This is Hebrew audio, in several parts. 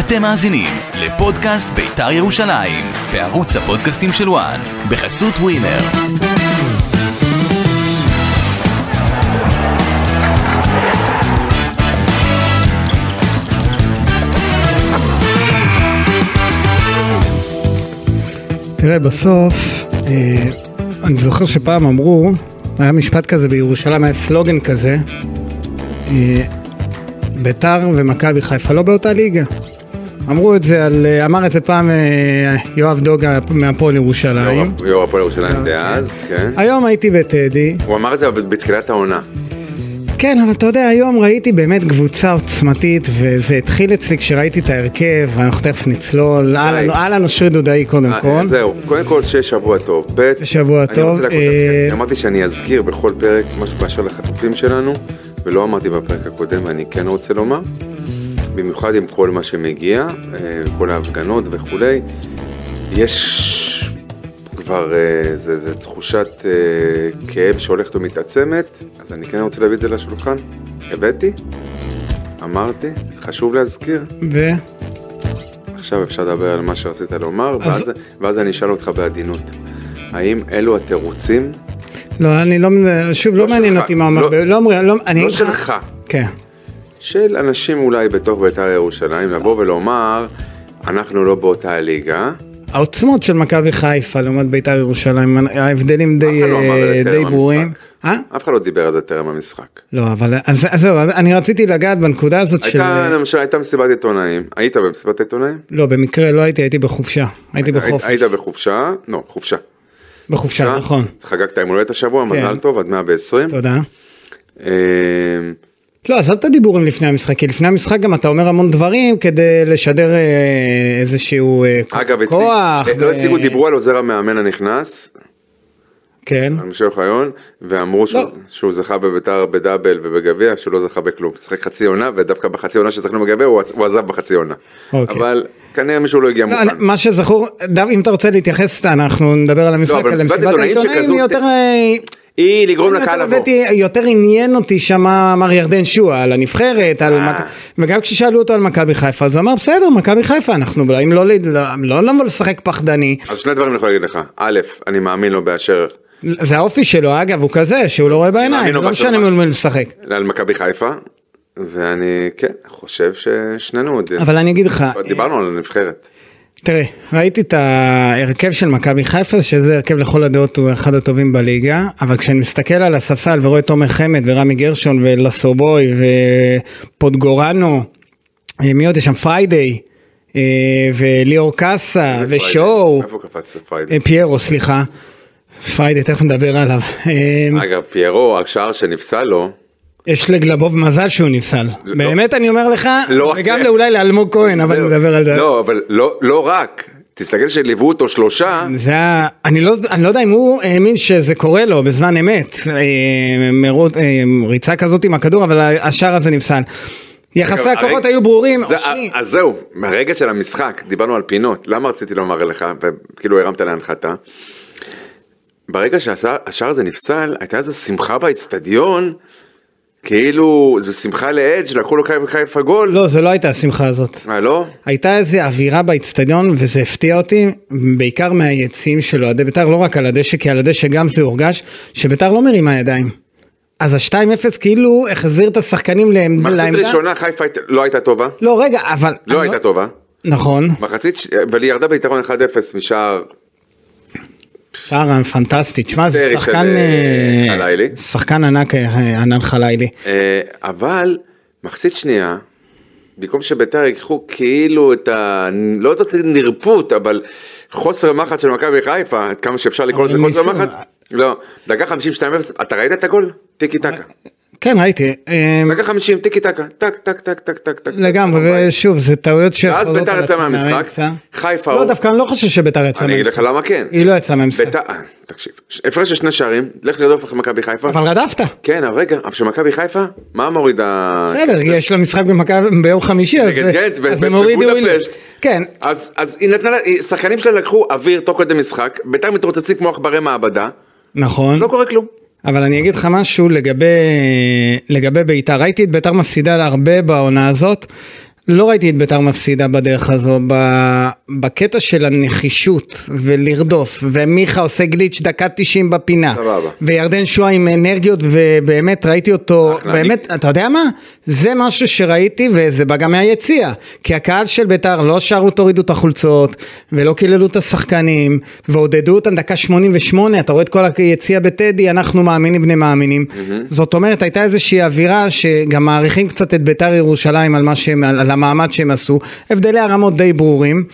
אתם מאזינים לפודקאסט בית"ר ירושלים, בערוץ הפודקאסטים של וואן, בחסות ווינר. תראה, בסוף, אה, אני זוכר שפעם אמרו, היה משפט כזה בירושלים, היה סלוגן כזה, אה, ביתר ומכבי חיפה לא באותה ליגה. אמרו את זה על, אה, אמר את זה פעם אה, יואב דוגה מהפועל ירושלים. יו"ר- יו"ר הפועל ירושלים אוקיי. דאז, כן. היום הייתי בטדי, הוא אמר את זה בתחילת העונה. כן, אבל אתה יודע, היום ראיתי באמת קבוצה עוצמתית, וזה התחיל אצלי כשראיתי את ההרכב, ואנחנו תכף נצלול, אהלן- אהלן אושרי דודאי קודם כל. אה, זהו, קודם כל שיהיה שבוע טוב. ב', נכון, שבוע אני טוב, רוצה להקות אה, אתכם. אמרתי שאני אזכיר בכל פרק משהו באשר לחטופים שלנו, ולא אמרתי בפרק הקודם, ואני כן רוצה לומר, במיוחד עם כל מה שמגיע, אה, כל ההפגנות וכולי, יש כבר איזו תחושת אה, כאב שהולכת ומתעצמת, אז אני כן רוצה להביא את זה לשולחן. הבאתי, אמרתי, חשוב להזכיר. ו... עכשיו אפשר לדבר על מה שרצית לומר, אז- ואז, ואז אני אשאל אותך בעדינות. האם אלו התירוצים, לא, אני לא, שוב, לא לא מעניין שלך, אותי מה אמר, לא- לא אומר, לא, אני... לא שלך, כן. של אנשים אולי בתוך בית"ר ירושלים, לבוא ולומר, אנחנו לא באותה הליגה, העוצמות של מכבי חיפה לעומת בית"ר ירושלים, ההבדלים די, אף אחד לא אמר את אה, זה די טרם ברורים. המשחק. אה? אף אחד לא דיבר על זה טרם המשחק. לא, אבל אז, אז זהו, אז אני רציתי לגעת בנקודה הזאת של... אה, הייתה, למשל, הייתה מסיבת עיתונאים, היית במסיבת עיתונאים? לא, במקרה לא הייתי, הייתי בחופשה. הייתי בחופש. היית בחופשה, לא, חופשה. בחופשה, נכון. כן. חגגת עם הולדת השבוע, מזל טוב, עד 120. תודה. אה, לא, עזב את הדיבורים לפני המשחק, כי לפני המשחק גם אתה אומר המון דברים כדי לשדר אה, איזשהו אה, כ- אגב, הציג- כוח. לא ו- הציגו, דיברו על עוזר המאמן הנכנס, כן. על מישל אוחיון, ואמרו שהוא, לא. שהוא זכה בביתר בדאבל ובגביע, שהוא לא זכה בכלום. שיחק חצי עונה, ודווקא בחצי עונה שזכנו בגביע הוא, עצ- הוא עזב בחצי עונה. אוקיי. אבל כנראה מישהו לא הגיע לא, מוכן. אני- מה שזכור, דו- אם אתה רוצה להתייחס, אנחנו נדבר על המשחק, לא, אבל על מסיבת מסיבת עיתונאים העיתונאים שכזאת- היא יותר... אה, היא לגרום יותר לקהל לבוא. הבאתי- יותר עניין אותי שם מה אמר ירדן שועה על הנבחרת, על אה. מכ- וגם כששאלו אותו על מכבי חיפה, אז הוא אמר בסדר, מכבי חיפה, אנחנו באים לא ל- לא- לא לבוא לשחק פחדני. אז שני דברים אני יכול להגיד לך. א', אני מאמין לו באשר זה האופי שלו, אגב, הוא כזה, שהוא לא רואה בעיניים, מאמין לו לא בשלום. משנה מול מי לשחק. על מכבי חיפה, ואני כן, חושב ששנינו עוד... אבל אני אגיד לך, כן. דיברנו על הנבחרת. תראה, ראיתי את ההרכב של מכבי חיפה, שזה הרכב לכל הדעות, הוא אחד הטובים בליגה, אבל כשאני מסתכל על הספסל ורואה את תומר חמד ורמי גרשון ולסובוי ופוטגורנו, אה, מי עוד יש שם? פריידי, אה, וליאור אה, קאסה, אה, ושואו, איפה קפצת פריידי? אה, פיירו, סליחה, פריידי, תכף נדבר עליו. אה, אגב, פיירו, השער שנפסל לו, יש לגלבוב מזל שהוא נפסל. לא. באמת אני אומר לך, לא. וגם אולי לאלמוג כהן, אבל זהו. נדבר על זה. לא, אבל לא- לא רק. תסתכל שליוו אותו שלושה, זה ה... אני לא, אני לא יודע אם הוא האמין שזה קורה לו בזמן אמת, אה, מרות, אה, ריצה כזאת עם הכדור, אבל השער הזה נפסל. יחסי אגב, הכוחות הרגע- היו ברורים, זה- אושרי. אז זהו, מהרגע של המשחק, דיברנו על פינות, למה רציתי לומר לך, וכאילו הרמת להנחתה. ברגע שהשער הזה נפסל, הייתה איזו שמחה באצטדיון, כאילו, זו שמחה לאדג', לקחו לו חיפה- חיפה גול. לא, זה לא הייתה השמחה הזאת. אה, לא? הייתה איזו אווירה באיצטדיון, וזה הפתיע אותי, בעיקר מהיציעים של אוהדי בית"ר, לא רק על הדשא, כי על הדשא גם זה הורגש, שבית"ר לא מרימה ידיים. אז ה-2-0 כאילו החזיר את השחקנים לעמד- מחצית לעמדה. ראשונה חיפה היית- לא הייתה טובה, לא, רגע, אבל... לא הייתה טובה. נכון, מחצית, ש- אבל היא ירדה ביתרון 1-0 משער שער פנטסטי, תשמע, זה היסטרי של, שחקן... אה, אה, חלילי. שחקן ענק, אה, ענן חלילי. אה, אבל מחצית שנייה, במקום שביתר ייקחו כאילו את ה... לא רוצה להגיד נרפות, אבל חוסר מחץ של מכבי חיפה, עד כמה שאפשר לקרוא אבל לזה הם חוסר ניסו. מחץ. לא, דקה 52-0, אתה ראית את הגול? טיקי טקה. כן, ראיתי. אה, דקה 50, טיקי טקה. טק, טק, טק, טק, טק, טק. לגמרי, ושוב, זה טעויות ש... ואז ביתר יצאה מהמשחק, חיפה לא, הוא- דווקא אני לא חושב שביתר יצאה אני אגיד לך מהמשחק. למה כן. היא לא יצאה מהמשחק. ביתר- אה, תקשיב, ש- הפרש של שני שערים, לך תרדוף אחרי מכבי חיפה. אבל רדפת. כן, אבל רגע, אבל שמכבי חיפה, מה מוריד ה... בסדר, יש לה משחק במכבי- ביום חמישי, אז כן, אה, נגד גנט אז ב- הם ב- הורידו- בבודפשט. כן, אז, אז היא נתנה, לה- היא- שחקנים שלה לקחו אוויר תוך כדי משחק, ביתר מתרוצצים כמו עכברי מעבדה, נכון. לא קורה כלום. אבל אני אגיד לך משהו לגבי, לגבי ביתר. ראיתי את ביתר מפסידה לה הרבה בעונה הזאת, לא ראיתי את ביתר מפסידה בדרך הזו, ב- בקטע של הנחישות ולרדוף, ומיכה עושה גליץ' דקה 90 בפינה, סבבה. וירדן שואה עם אנרגיות, ובאמת ראיתי אותו, אחלה, באמת, אתה יודע מה? זה משהו שראיתי, וזה בא גם מהיציע, כי הקהל של ביתר לא שרו תורידו את החולצות, ולא קיללו את השחקנים, ועודדו אותם דקה 88, אתה רואה את כל היציע בטדי, אנחנו מאמינים בני מאמינים. זאת אומרת, הייתה איזושהי אווירה שגם מעריכים קצת את ביתר ירושלים על, מה שהם, על על המאמץ שהם עשו, הבדלי הרמות די ברורים.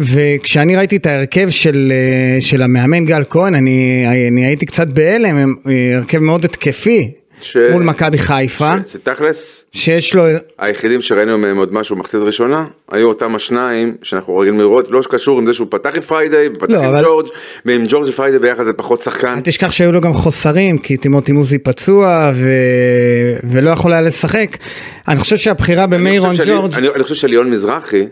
וכשאני ראיתי את ההרכב של, אה, של המאמן גל כהן, אני, אני הייתי קצת בהלם, הם- אה, הרכב מאוד התקפי ש- מול מכבי חיפה, ש- תכלס, שיש לו, היחידים שראינו מהם עוד משהו מחצית ראשונה, היו אותם השניים שאנחנו רגילים לראות, לא קשור עם זה שהוא פתח עם פריידי, ופתח לא, עם אבל- ג'ורג', ועם ג'ורג' ופריידי ביחד זה פחות שחקן. אל תשכח שהיו לו גם חוסרים, כי טימוטי מוזי פצוע ו... ולא יכול היה לשחק. אני חושב שהבחירה במיירון אני חושב שלי- ג'ורג', אני אני חושב שליון מזרחי,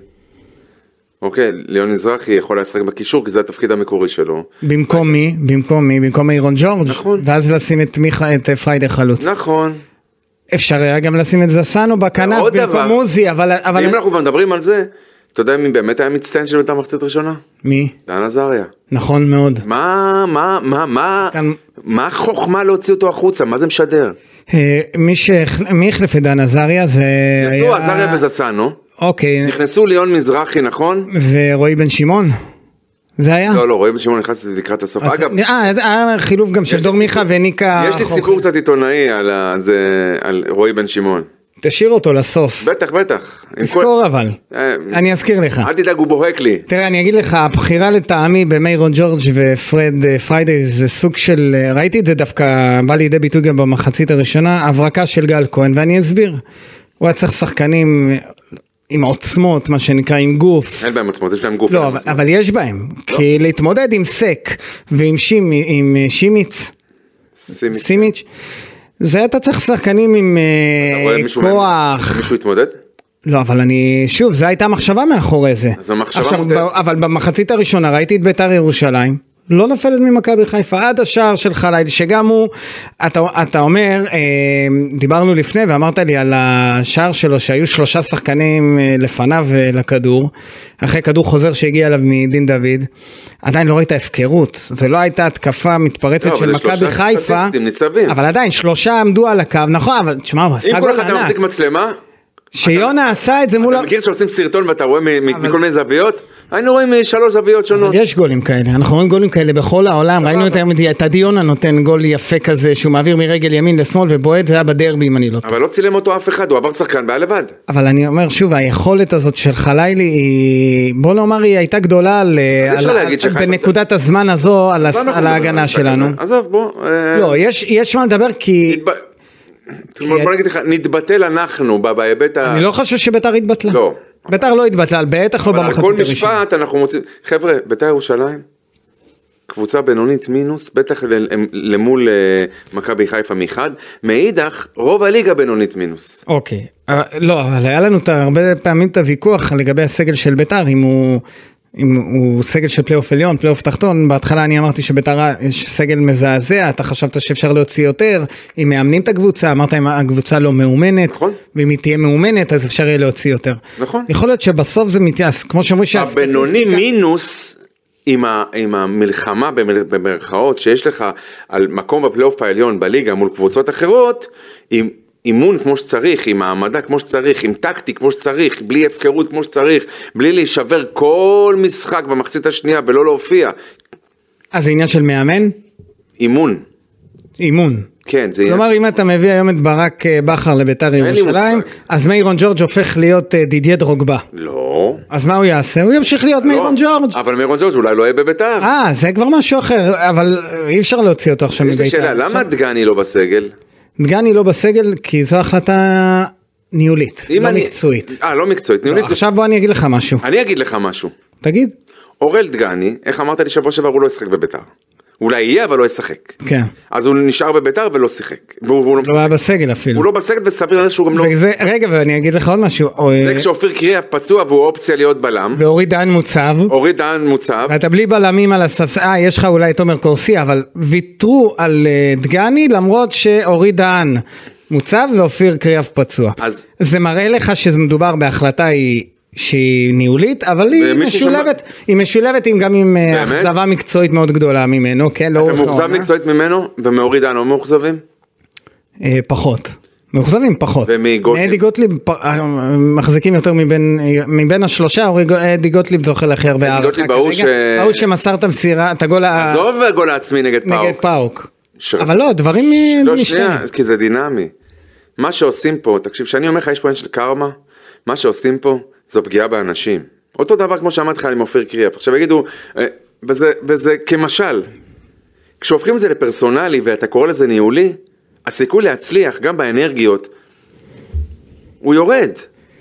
אוקיי, ליון מזרחי יכול לשחק בקישור, כי זה התפקיד המקורי שלו. במקום מי? במקום מי? במקום מיירון ג'ורג', נכון. ואז לשים את מיכה, את אה, פריידי חלוץ. נכון. אפשר היה גם לשים את זסנו בכנף עוד במקום דבר. מוזי, אבל... אבל... ואם אנחנו כבר מדברים על זה, אתה יודע מי באמת היה מצטיין של בית"ר מחצית ראשונה? מי? דן עזריה. נכון מאוד. מה, מה, מה, מה, כאן- מה החוכמה להוציא אותו החוצה? מה זה משדר? אה, מי, שהח- מי החליף את דן עזריה זה יצאו עזריה וזסנו, אוקיי, נכנסו ליון מזרחי, נכון? ורועי בן שמעון? זה היה? לא, לא, רואים שמעון נכנס לקראת הסוף. אה. אז- אגב, אה, אז היה חילוף גם של לי דור סיפור- מיכה וניקה... יש לי חוק. סיפור קצת עיתונאי על ה- זה- על רועי בן שמעון. תשאיר אותו לסוף. בטח, בטח. עם כל- תזכור אבל, אה, אני אזכיר לך. אל תדאג, הוא בוהק לי. תראה, אני אגיד לך, הבחירה לטעמי במיירון ג'ורג' ופרד אה, פריידי זה סוג של, אה, ראיתי את זה דווקא, בא לידי ביטוי גם במחצית הראשונה, הברקה של גל כהן, ואני אסביר. הוא היה צריך שחקנים אה, עם עוצמות, מה שנקרא, עם גוף. אין לא. בהם עצמות, יש להם גוף. אין לא, להם אבל, עצמות. אבל יש בהם, כי להתמודד עם סק ועם שימי, עם אה, שימיץ, שימי- סימיץ', זה אתה צריך שחקנים עם אתה אה, רואה מישהו מהם- כוח. מישהו התמודד? לא, אבל אני, שוב, זו הייתה המחשבה מאחורי זה. אז המחשבה עכשיו, מוטעת. ב- אבל במחצית הראשונה ראיתי את ביתר ירושלים, לא נופלת ממכבי חיפה, עד השער של חלילי, שגם הוא, אתה, אתה אומר, אה, דיברנו לפני ואמרת לי על השער שלו שהיו שלושה שחקנים אה, לפניו אה, לכדור, אחרי כדור חוזר שהגיע אליו מדין דוד, עדיין לא ראית הפקרות, זו לא הייתה התקפה מתפרצת לא, אבל של זה שלושה מכבי חיפה, סטטיסטים ניצבים. אבל עדיין שלושה עמדו על הקו, נכון, אבל תשמע, הוא אם עשה כל גול אחד היה ענק, מחזיק מצלמה, שיונה עשה את זה מול... אתה ה- מכיר שעושים סרטון ואתה רואה מ- מ- מכל מיני זוויות? היינו רואים משלוש זוויות שונות. יש גולים כאלה, אנחנו רואים גולים כאלה בכל העולם, ראינו את ה- את עדי יונה נותן גול יפה כזה שהוא מעביר מרגל ימין לשמאל ובועט, זה היה בדרבי אם אני לא טועה. אבל לא צילם אותו אף אחד, הוא עבר שחקן והיה לבד. אבל אני אומר שוב, היכולת הזאת של חלילי היא, בוא נאמר היא הייתה גדולה על, אפשר על- להגיד על- שחיפה- בנקודת הזמן הזו על, הס, לא, אנחנו על מדברים על ההגנה המשחק שלנו. הזה. עזוב, בוא. אה, לא, יש, יש מה לדבר כי נתב- בוא נגיד לך, נתבטל אנחנו ב- בהיבט ה... אני לא חושב שביתר התבטלה. לא. ביתר לא התבטלה, בטח לא אבל על במחצית כל הראשונה. משפט אנחנו מוצאים, חבר'ה, בית"ר ירושלים, קבוצה בינונית מינוס, בטח ל- למול אה, מכבי חיפה מחד, מאידך, רוב הליגה בינונית מינוס. אוקיי, אה, לא, אבל היה לנו את ה- הרבה פעמים את הוויכוח לגבי הסגל של ביתר, אם הוא, אם הוא סגל של פלייאוף עליון, פלייאוף תחתון, בהתחלה אני אמרתי שביתר יש סגל מזעזע, אתה חשבת שאפשר להוציא יותר, אם מאמנים את הקבוצה, אמרת אם הקבוצה לא מאומנת, נכון. ואם היא תהיה מאומנת אז אפשר יהיה להוציא יותר. נכון. יכול להיות שבסוף זה מתייעס, כמו שאומרים הבינוני מינוס... עם, ה, עם המלחמה במל- במרכאות שיש לך על מקום בפלייאוף העליון בליגה מול קבוצות אחרות, עם אימון כמו שצריך, עם העמדה כמו שצריך, עם טקטי כמו שצריך, בלי הפקרות כמו שצריך, בלי להישבר כל משחק במחצית השנייה ולא להופיע, אז זה עניין של מאמן, אימון, אימון. כן, זה כלומר אם אתה מביא היום את ברק אה, בכר לביתר לי ירושלים, מושג. אז מיירון ג'ורג' הופך להיות אה, דידיה דרוגבה. לא. אז מה הוא יעשה? הוא ימשיך להיות מיירון לא. ג'ורג'. אבל מירון ג'ורג' אולי לא יהיה בביתר. אה, זה כבר משהו אחר, אבל אי אפשר להוציא אותו עכשיו יש לי מביתר. שאלה, למה דגני לא בסגל? דגני לא בסגל, כי זו החלטה ניהולית, אם לא אני- מקצועית. אה, לא מקצועית, ניהולית. זה- עכשיו בוא אני אגיד לך משהו, אני אגיד לך משהו. תגיד. אורל דגני, איך אמרת לי שבוע שעבר הוא לא ישחק בביתר. אולי יהיה, אבל לא ישחק. כן. אז הוא נשאר בביתר ולא שיחק. והוא והוא לא לא משחק. היה בסגל אפילו. הוא לא בסגל וסביר להניח שהוא גם לא... וזה- רגע, ואני אגיד לך עוד משהו. אה, זה כשאופיר קריאף פצוע והוא אופציה להיות בלם. ואורי דהן מוצב. אורי דן מוצב. ואתה בלי בלמים על הספסל, אה יש לך אולי את תומר קורסי, אבל ויתרו על אה, דגני למרות שאורי דהן מוצב ואופיר קריאף פצוע. אז- זה מראה לך שמדובר בהחלטה היא... שהיא ניהולית, אבל היא ומי ששמע- משולבת, היא משולבת עם גם עם אה, באמת? אכזבה מקצועית מאוד גדולה ממנו, כן? אתה לאורך מאוכזב העונה. מקצועית ממנו, ומאורי דן לא מאוכזבים? אה, פחות. מאוכזבים פחות. ומגוטליב? מאדי גוטליב פ- אה, מחזיקים יותר מבין, מבין השלושה, אורי גו- אדי גוטליב זוכה להכי הרבה אדי הערכה גוטליב, ההוא כרגע. ש- ההוא שמסר את המסירה, את הגול ה- עזוב הגול העצמי אה. נגד פאוק. נגד פאוק. ש- אבל לא, דברים אה, לא, משתנים. שנייה, כי זה דינמי. מה שעושים פה, תקשיב, כשאני אומר לך, יש פה עניין של קרמה, מה שעושים פה זו פגיעה באנשים. אותו דבר כמו שאמרתי לך עם אופיר קריאף. עכשיו יגידו, אה, וזה, וזה כמשל, כשהופכים את זה לפרסונלי ואתה קורא לזה ניהולי, הסיכוי להצליח, גם באנרגיות, הוא יורד.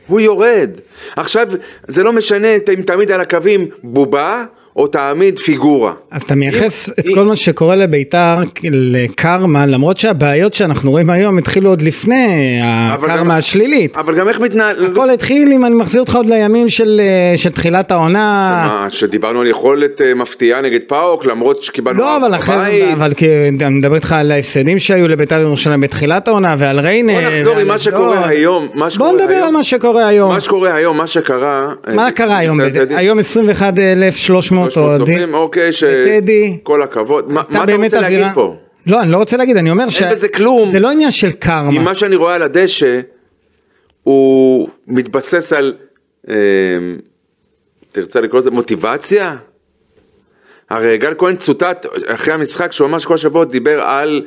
הוא יורד. עכשיו, זה לא משנה אם תעמיד על הקווים בובה, או תעמיד פיגורה. אתה מייחס אם- את אם- כל מה שקורה לביתר לקרמה, למרות שהבעיות שאנחנו רואים היום התחילו עוד לפני אבל גם- הקרמה השלילית. אבל גם איך מתנהל... הכל התחיל, אם אני מחזיר אותך עוד לימים של אה, של תחילת העונה, מה, שדיברנו על יכולת אה, מפתיעה נגד פאוק, למרות שקיבלנו... לא, אבל ארבע אחרי, בבית. אבל כי- אני מדבר איתך על ההפסדים שהיו לביתר ירושלים בתחילת העונה ועל ריינה. בוא נחזור ועל עם מה אשדוד. שקורה היום, מה שקורה בוא נדבר היום. על מה שקורה היום. מה שקורה היום, מה שקרה... אה, לא. מה קרה היום? מצד בד- טדי, היום 21,300 300 צופים, אוהדים. אוקיי, ש... וטדי. כל הכבוד. מה הייתה מה אתה באמת רוצה להגיד אווירה- פה? לא, אני לא רוצה להגיד, אני אומר ש... בזה כלום. זה לא עניין של עם קרמה. מה שאני רואה על הדשא, הוא מתבסס על, אה, תרצה לקרוא לזה מוטיבציה? הרי גל כהן צוטט אחרי המשחק שהוא ממש כל שבוע דיבר על...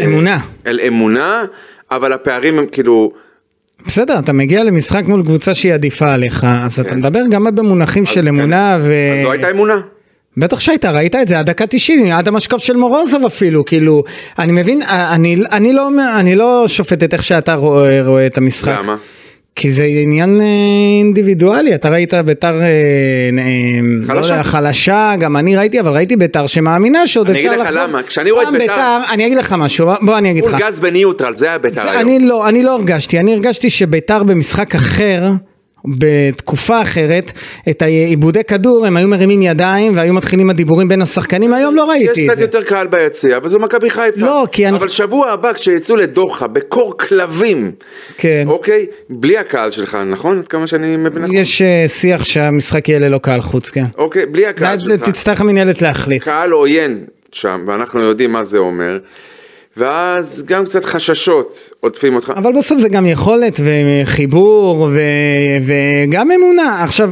אה, אמונה. על אמונה, אבל הפערים הם כאילו... בסדר, אתה מגיע למשחק מול קבוצה שהיא עדיפה עליך, אז אתה מדבר גם במונחים כן. אז של כן. אמונה ו... אז לא הייתה אמונה. בטח שהייתה, ראית את זה עד דקה 90, עד המשקוף של מורוזוב אפילו, כאילו, אני מבין, אני, אני, לא, אני לא שופט את איך שאתה רואה, רואה את המשחק. למה? כי זה עניין אה, אינדיבידואלי, אתה ראית ביתר אה, אה, לא חלשה. יודע, חלשה, גם אני ראיתי, אבל ראיתי ביתר שמאמינה שעוד אני אפשר אגיד לך למה, כשאני רואה את פעם ביתר- אני אגיד לך משהו, בוא אני אגיד לך. מול גז בניוטרל, זה היה בית"ר זה, היום. אני לא, אני לא הרגשתי, אני הרגשתי שביתר במשחק אחר, בתקופה אחרת, את העיבודי כדור הם היו מרימים ידיים והיו מתחילים הדיבורים בין השחקנים, היום לא יש ראיתי את קצת זה. יותר קהל ביציע, אבל זו מכבי חיפה. לא, כי אנחנו- אבל שבוע הבא כשיצאו לדוחה, בקור כלבים, כן. אוקיי? בלי הקהל שלך, נכון? עד כמה שאני מבין נכון? יש אה, שיח שהמשחק יהיה ללא קהל חוץ, כן. אוקיי, בלי זה- הקהל זה שלך. תצטרך המנהלת להחליט. קהל עוין שם, ואנחנו יודעים מה זה אומר. ואז גם קצת חששות עוטפים אותך. אבל בסוף זה גם יכולת וחיבור ו... וגם אמונה. עכשיו,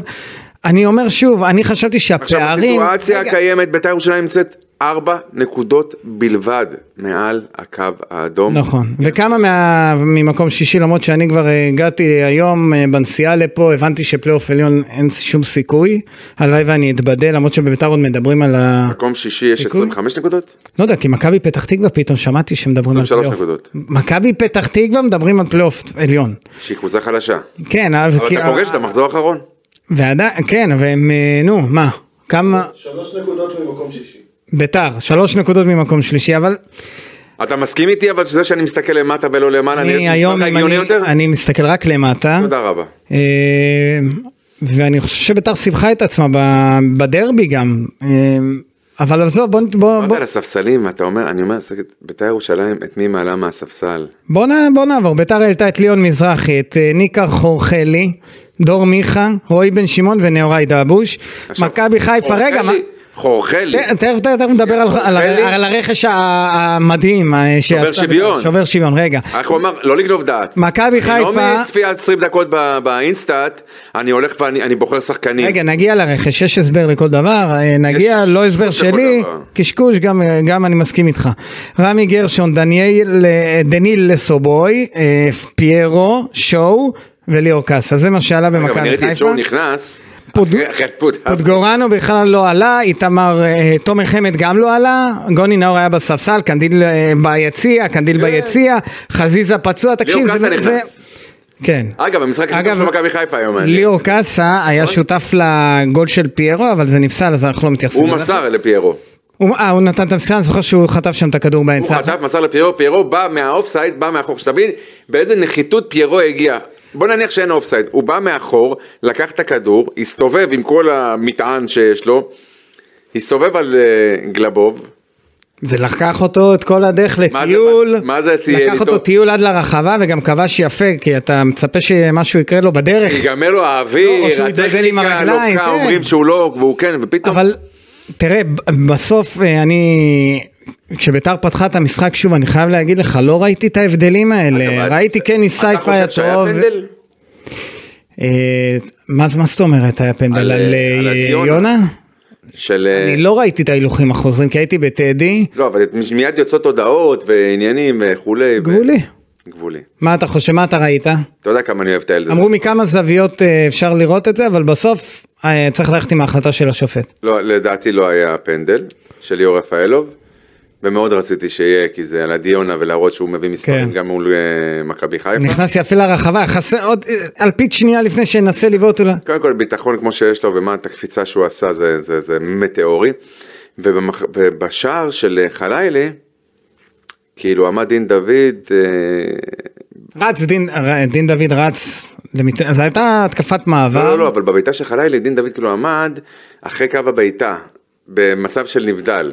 אני אומר שוב, אני חשבתי עכשיו שהפערים... הסיטואציה רגע, הקיימת, בית"ר ירושלים נמצאת ארבע נקודות בלבד מעל הקו האדום. נכון, וכמה מה, ממקום שישי, למרות שאני כבר אה, הגעתי היום אה, בנסיעה לפה, הבנתי שפלייאוף עליון אין שום סיכוי, הלוואי ואני אתבדה, למרות שבביתר עוד מדברים על ה... מקום שישי יש סיכוי? 25 נקודות? לא יודע, כי מכבי פתח תקווה פתאום שמעתי שמדברים על 23 פלייאוף. נקודות. מכבי פתח תקווה מדברים על פלייאוף עליון. שהיא קבוצה חלשה. כן, אבל... אבל כי- אתה פוגש את המחזור האחרון. ועדיין, כן, והם, אה, נו, מה? כמה... שלוש נקודות ממקום שישי. ביתר, שלוש נקודות ממקום שלישי, אבל אתה מסכים איתי אבל שזה שאני מסתכל למטה ולא למעלה, אני נשמע לך היום, אם הגיוני אני, יותר? אני מסתכל רק למטה, תודה רבה. אה, ואני חושב שביתר סיבכה את עצמה ב- בדרבי גם, אה, אבל עזוב, בוא, בוא, בוא, אמרת על הספסלים, אתה אומר, אני אומר, סליחה, בית"ר ירושלים, את מי מעלה מהספסל? בוא, נע- בוא נעבור, ביתר העלתה את ליאון מזרחי, את אה, ניקה חורחלי, דור מיכה, רועי בן שמעון ונאורי דאבוש, עכשיו, מכבי חיפה, חורחלי- רגע, מה- אה, חורחלי, ת- כן, תכף תכף נדבר על- על חורחלי? על הרכש ה- המדהים, אה, שיצא- שובר שוויון. שובר שוויון, רגע, איך הוא אמר? לא לגנוב דעת. אה, מכבי נעמי חיפה, צפייה 20 דקות ב- באינסטאט, אני הולך ואני אני בוחר שחקנים. רגע, נגיע לרכש, יש הסבר לכל דבר, אה, נגיע, יש לא הסבר קשקוש לכל שלי, דבר. קשקוש, גם, גם אני מסכים איתך. רמי גרשון, דניאל, אה, דניל לסובוי, אה, פיירו, שואו וליאור קאסה, זה מה שעלה רגע, אבל אני במכבי ראיתי את חיפה. שואו נכנס, פוד- אחרי- אחרי פוד- פוטגורנו בכלל לא עלה, איתמר, אה, תומר חמד גם לא עלה, גוני נאור היה בספסל, קנדיל אה, ביציע, קנדיל ביציע, חזיזה פצוע, תקשיב, כן. ליאור זה... לא- קאסה זה- נכנס. אה, כן. אגב, המשחק הכי אגב, טוב של מכבי חיפה היום. נכון. היה. ליאור קאסה היה שותף לגול של פיירו, אבל זה נפסל, אז אנחנו לא מתייחסים הוא אליו. מסר לפיירו. הוא- אה, הוא נתן את המסירה, אני זוכר שהוא חטף שם את הכדור הוא באמצע. חטף, מסר לפיירו, פיירו בא מהאופסייד, בא מהחור, שתבין באיזה נחיתות פיירו הגיע. בוא נניח שאין אופסייד, הוא בא מאחור, לקח את הכדור, הסתובב עם כל המטען שיש לו, הסתובב על אה, גלבוב, ולקח אותו את כל הדרך מה זה- לטיול, מה- מה זה טייל לקח איתו? אותו טיול עד לרחבה וגם כבש יפה, כי אתה מצפה שמשהו יקרה לו בדרך, ייגמר לו לא, או שהוא האוויר, יתבלבל עם הטכניקה, הרגליים, לוקה, כן. אומרים שהוא לא, והוא כן, ופתאום... אבל תראה, ב- בסוף אה, אני, כשביתר פתחה את המשחק שוב, אני חייב להגיד לך, לא ראיתי את ההבדלים האלה, אגב, ראיתי אתה- כן ניסייפה היה אתה חושב שהיה טוב, פנדל? אה, מה מה זאת אומרת היה פנדל על, על אה, על אה. אה, הדיונה. יונה? של... אני לא ראיתי את ההילוכים החוזרים, כי הייתי בטדי, לא, אבל מיד יוצאות הודעות ועניינים וכולי. ו- גבולי. גבולי. מה אתה חושב, מה אתה ראית? אתה יודע כמה אני אוהב את הילד הזה. אמרו מכמה זוויות אה, אפשר לראות את זה, אבל בסוף אה, צריך ללכת עם ההחלטה של השופט. לא, לדעתי לא היה פנדל של ליאור רפאלוב, ומאוד רציתי שיהיה, כי זה על הדיונה ולהראות שהוא מביא מספרים כן. גם מול אה, מכבי חיפה. נכנס יפה לרחבה, חסר עוד אה, אלפית שנייה לפני שינסה לבעוט אולי. קודם כל ביטחון כמו שיש לו ומה את הקפיצה שהוא עשה זה, זה, זה מטאורי. ובמח... ובשער של אה, חלילי, כאילו עמד דין דוד, אה... רץ דין, ר- דין דוד רץ, למת... זו הייתה התקפת מעבר. לא לא לא, אבל בבעיטה של חלילי דין דוד כאילו עמד אחרי קו הבעיטה, במצב של נבדל.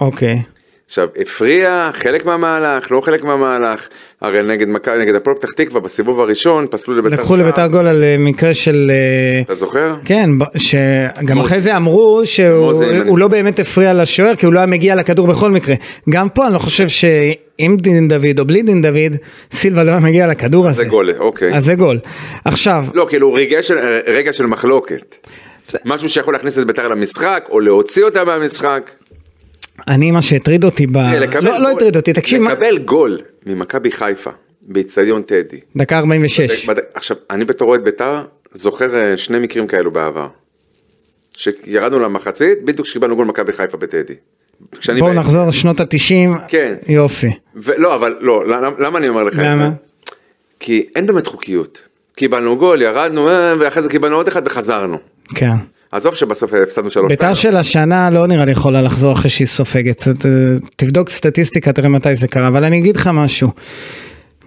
אוקיי. עכשיו, הפריע חלק מהמהלך, לא חלק מהמהלך, הרי נגד מכבי, נגד הפועל פתח תקווה בסיבוב הראשון פסלו לביתר לקחו לביתר גול על אה, מקרה של... אה, אתה זוכר? כן, ב- שגם מוזי. אחרי זה אמרו שהוא מוזי, אין הוא לי- לא באמת הפריע לשוער, כי הוא לא היה מגיע לכדור בכל מקרה. גם פה אני לא חושב שעם דין דוד או בלי דין דוד, סילבה לא היה מגיע לכדור הזה. זה גול, אוקיי. אז זה גול. עכשיו, לא, כאילו רגע של, רגע של מחלוקת. משהו שיכול להכניס את ביתר למשחק, או להוציא אותה מהמשחק. אני מה שהטריד אותי ב... תראה, לקבל אה, לא, לא גול- הטריד אותי, תקשיב, מה- לקבל גול ממכבי חיפה, באיצטדיון טדי. דקה 46. בד- עכשיו, אני בתור אוהד ביתר, זוכר אה, שני מקרים כאלו בעבר. שירדנו למחצית, בדיוק כשקיבלנו גול מכבי חיפה בטדי. כשאני בואו באמצע. נחזור שנות ה-90. כן. יופי. ולא, אבל לא, למה, למה אני אומר לך את למה? זה? כי אין באמת חוקיות. קיבלנו גול, ירדנו, אה, ואחרי זה קיבלנו עוד אחד וחזרנו. כן. עזוב שבסוף הפסדנו שלוש ביתר של השנה לא נראה לי יכולה לחזור אחרי שהיא סופגת. ת- תבדוק סטטיסטיקה, תראה מתי זה קרה. אבל אני אגיד לך משהו.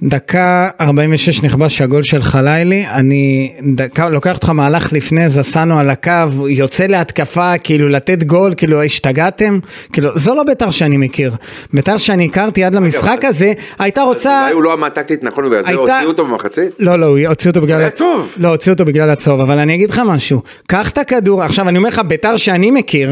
דקה 46 נכבש הגול של חלילי, אני דקה, לוקח אותך מהלך לפני, זסנו על הקו, הוא יוצא להתקפה, כאילו לתת גול, כאילו השתגעתם, כאילו זו לא ביתר שאני מכיר, ביתר שאני הכרתי עד למשחק אז- הזה, הייתה רוצה, אולי הוא לא עמד טקטית נכון, ובגלל זה הייתה- הוציאו אותו במחצית? לא, לא, הוא הוציא אותו בגלל... היה הצ- טוב. לא, הוציאו אותו בגלל הצהוב, אבל אני אגיד לך משהו. קח את הכדור, עכשיו אני אומר לך, ביתר שאני מכיר,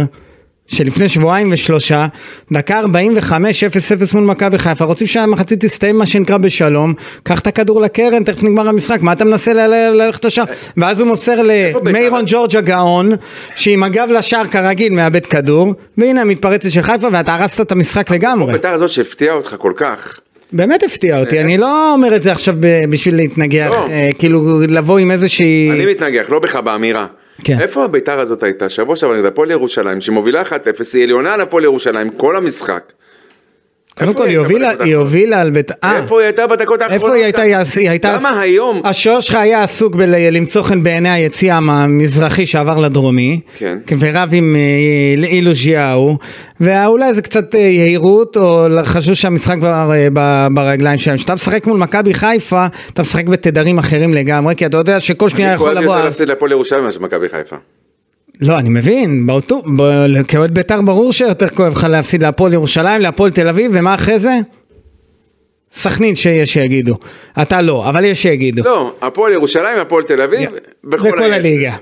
שלפני שבועיים ושלושה, דקה 45, 0-0 מול מכבי חיפה, רוצים שהמחצית תסתיים מה שנקרא בשלום, קח את הכדור לקרן, תכף נגמר המשחק, מה אתה מנסה ל- ל- ללכת לשם? ואז הוא מוסר ביתר? למיירון ג'ורג' הגאון, שעם הגב לשער כרגיל מאבד כדור, והנה המתפרצת של חיפה, ואתה הרסת את המשחק לגמרי. ביתר הזאת שהפתיעה אותך כל כך. באמת הפתיע אותי, אני לא אומר את זה עכשיו ב- בשביל להתנגח, לא. אה, כאילו לבוא עם איזושהי... אני מתנגח, לא בך, באמירה. כן. איפה הביתר הזאת הייתה? שבוע שעבר נגד הפועל ירושלים, שמובילה 1-0, היא עליונה על הפועל ירושלים כל המשחק. קודם איפה כל היא היא הייתה הובילה, בדקות היא האחרונות? הובילה על בית... אה, איפה היא הייתה בדקות האחרונות? איפה היא הייתה? היא עש- היא הייתה... למה היום? השוער שלך היה עסוק בלמצוא חן בעיני היציע המזרחי שעבר לדרומי, כן. ורב עם אה, אילוז'יאו, ואולי זה קצת אה, יהירות, או חשבו שהמשחק כבר אה, ב- ברגליים שלהם. כשאתה משחק מול מכבי חיפה, אתה משחק בתדרים אחרים לגמרי, כי אתה יודע שכל שנייה אני יכול כואב לבוא... יותר אז- להפסיד להפועל ירושלים מאשר מכבי חיפה. לא, אני מבין, באותו, ב... כאוהד בית"ר ברור שיותר כואב לך להפסיד להפועל ירושלים, להפועל תל אביב, ומה אחרי זה? סכנין שיש שיגידו. אתה לא, אבל יש שיגידו. לא, הפועל ירושלים, הפועל תל אביב, בכל היתר. הליגה.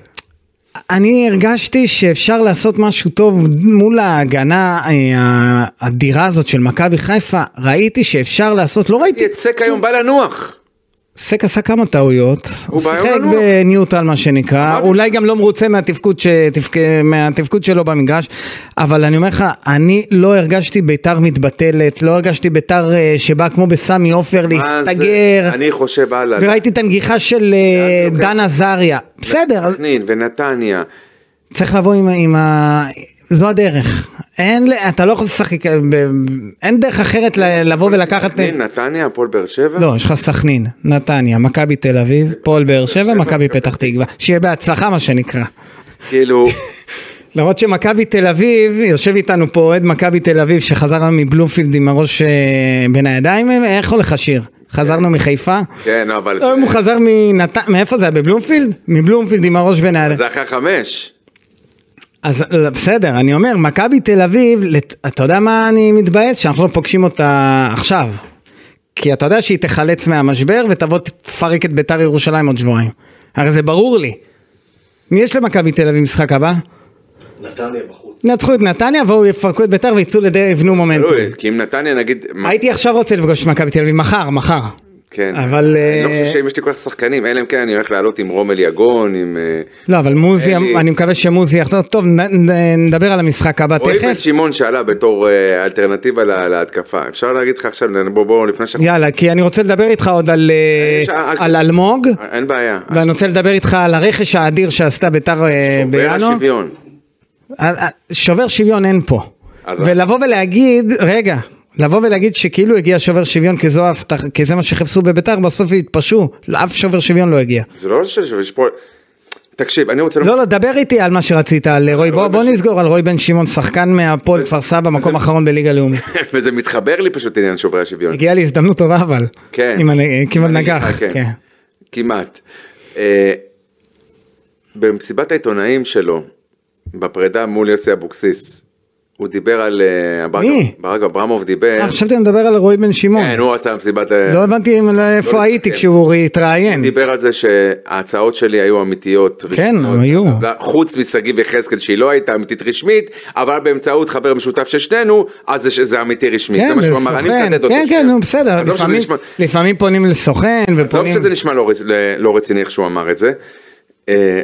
אני הרגשתי שאפשר לעשות משהו טוב מול ההגנה אה, האדירה הזאת של מכבי חיפה, ראיתי שאפשר לעשות, לא ראיתי, את סק היום בא לנוח. סק עשה כמה טעויות, הוא בעיה שיחק לנו. בניוטרל מה שנקרא, אמרתי. אולי גם לא מרוצה מהתפקוד, שתפק... מהתפקוד שלו במגרש, אבל אני אומר לך, אני לא הרגשתי ביתר מתבטלת, לא הרגשתי ביתר אה, שבאה כמו בסמי עופר מה זה? להסתגר, אה, אני לא, חושב הלאה. וראיתי את הנגיחה של אה, לאן זה דן לוקח? עזריה, בסדר, אז כן. סכנין ונתניה. צריך לבוא עם, ה- עם ה... זו הדרך, אין, ל- אתה לא יכול לשחק, אה, ב- אין דרך אחרת ל- לבוא ולקחת... אה, סכנין, נתניה, הפועל באר שבע. לא, יש לך סכנין, נתניה, מכבי תל אביב, פועל באר שבע, מכבי פתח תקווה. שיהיה בהצלחה מה שנקרא. כאילו, למרות שמכבי תל אביב, יושב איתנו פה אוהד מכבי תל אביב שחזר היום מבלומפילד עם הראש אה, בין הידיים, אה, איך הולך השיר? חזרנו מחיפה? כן, אבל היום הוא זה- חזר מנת... מאיפה זה היה? בבלומפילד? מבלומפילד עם הראש בין הידיים. זה אחרי חמש. אז לא, בסדר, אני אומר, מכבי תל אביב, לת- אתה יודע מה אני מתבאס? שאנחנו לא פוגשים אותה עכשיו. כי אתה יודע שהיא תחלץ מהמשבר ותבוא תפרק את ביתר ירושלים עוד שבועיים. הרי זה ברור לי. מי יש למכבי תל אביב משחק הבא? נתניה בחוץ. ינצחו את נתניה והוא יפרקו את ביתר ויצאו לדי... יבנו מומנטום. תלוי, כי אם נתניה נגיד... מה- הייתי עכשיו רוצה לפגוש את מכבי תל אביב, מחר, מחר. כן. אבל, אני לא אה, חושב שאם יש לי כל כך שחקנים, אלא אם כן אני הולך לעלות עם רומל יגון, עם... אה, לא, אבל מוזי, אלי. אני מקווה שמוזי יחזור. טוב, נ- נ- נדבר על המשחק הבא רועי בן תכף. שמעון שעלה בתור אה, אלטרנטיבה לה- להתקפה. אפשר להגיד לך עכשיו, בוא בוא, לפני שאנחנו... יאללה, כי אני רוצה לדבר איתך עוד על, אה, יש- אה, על אלמוג, אין בעיה. ואני רוצה לדבר איתך על הרכש האדיר שעשתה ביתר אה, עובר בינואר. השוויון. אה, אה, שובר שוויון אין פה. אז- ולבוא ולהגיד, רגע, לבוא ולהגיד שכאילו הגיע שובר שוויון כי, זו ההבטח, כי זה מה שחיפשו בביתר, בסוף התפשעו, אף שובר שוויון לא הגיע. זה לא שיש יש פה... תקשיב, אני רוצה... לומר- לא, לא, דבר איתי על מה שרצית, על אה, רוי, בוא, רוי בוא בן- נסגור על רוי בן שמעון, שחקן מהפועל כפר סבא, מקום אחרון בליגה לאומית. וזה מתחבר לי פשוט עניין שוברי השוויון. הגיעה לי הזדמנות טובה אבל. כן. אם אני- כמעט אני אגיד נגח. לך, כן. כן. כמעט. אה, במסיבת העיתונאים שלו, בפרידה מול יוסי אבוקסיס, הוא דיבר על... אה, הברק- מי? ברק אברמוב דיבר... אה, חשבתי אני מדבר על רוי בן שמעון. כן, הוא עשה מסיבת... אה, לא הבנתי אם- איפה לא הייתי להתקדם. כשהוא התראיין. דיבר על זה שההצעות שלי היו אמיתיות. רשמיות, כן, היו. חוץ משגיב יחזקאל שהיא לא הייתה אמיתית רשמית, אבל באמצעות חבר משותף של שנינו, אז זה- זה אמיתי רשמי. זה מה שהוא אמר, אני לסוכן. מצטט אותו. כן, שנייה. כן, נו, בסדר. עזוב שזה לפעמים- נשמע- לפעמים פונים לסוכן עזוב ופונים... שזה נשמע לא, רצ- לא רציני איך שהוא אמר את זה. אה,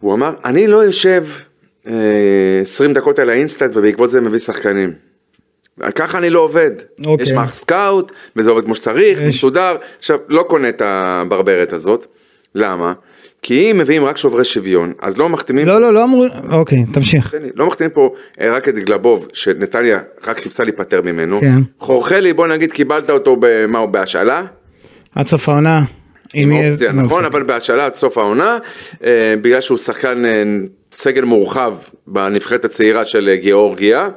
הוא אמר, אני לא יושב אה, 20 דקות על האינסטנט ובעקבות זה מביא שחקנים. ככה אני לא עובד. אוקיי. יש מערך סקאוט, וזה עובד כמו שצריך, מסודר. עכשיו, לא קונה את הברברת הזאת. למה? כי אם מביאים רק שוברי שוויון, אז לא מחתימים... לא, לא, לא אמרו... אוקיי, תמשיך. תן לי, לא מחתימים פה אה, רק את גלבוב, שנתניה רק חיפשה להיפטר ממנו. כן. חורחלי, בוא נגיד, קיבלת אותו במה, הוא, בהשאלה? עד סוף העונה. אם עם יהיה- אופציה, עם נכון, אופציה. כן. אבל בהשאלה עד סוף העונה, אה, בגלל שהוא שחקן אה, סגל מורחב בנבחרת הצעירה של אה, גיאורגיה,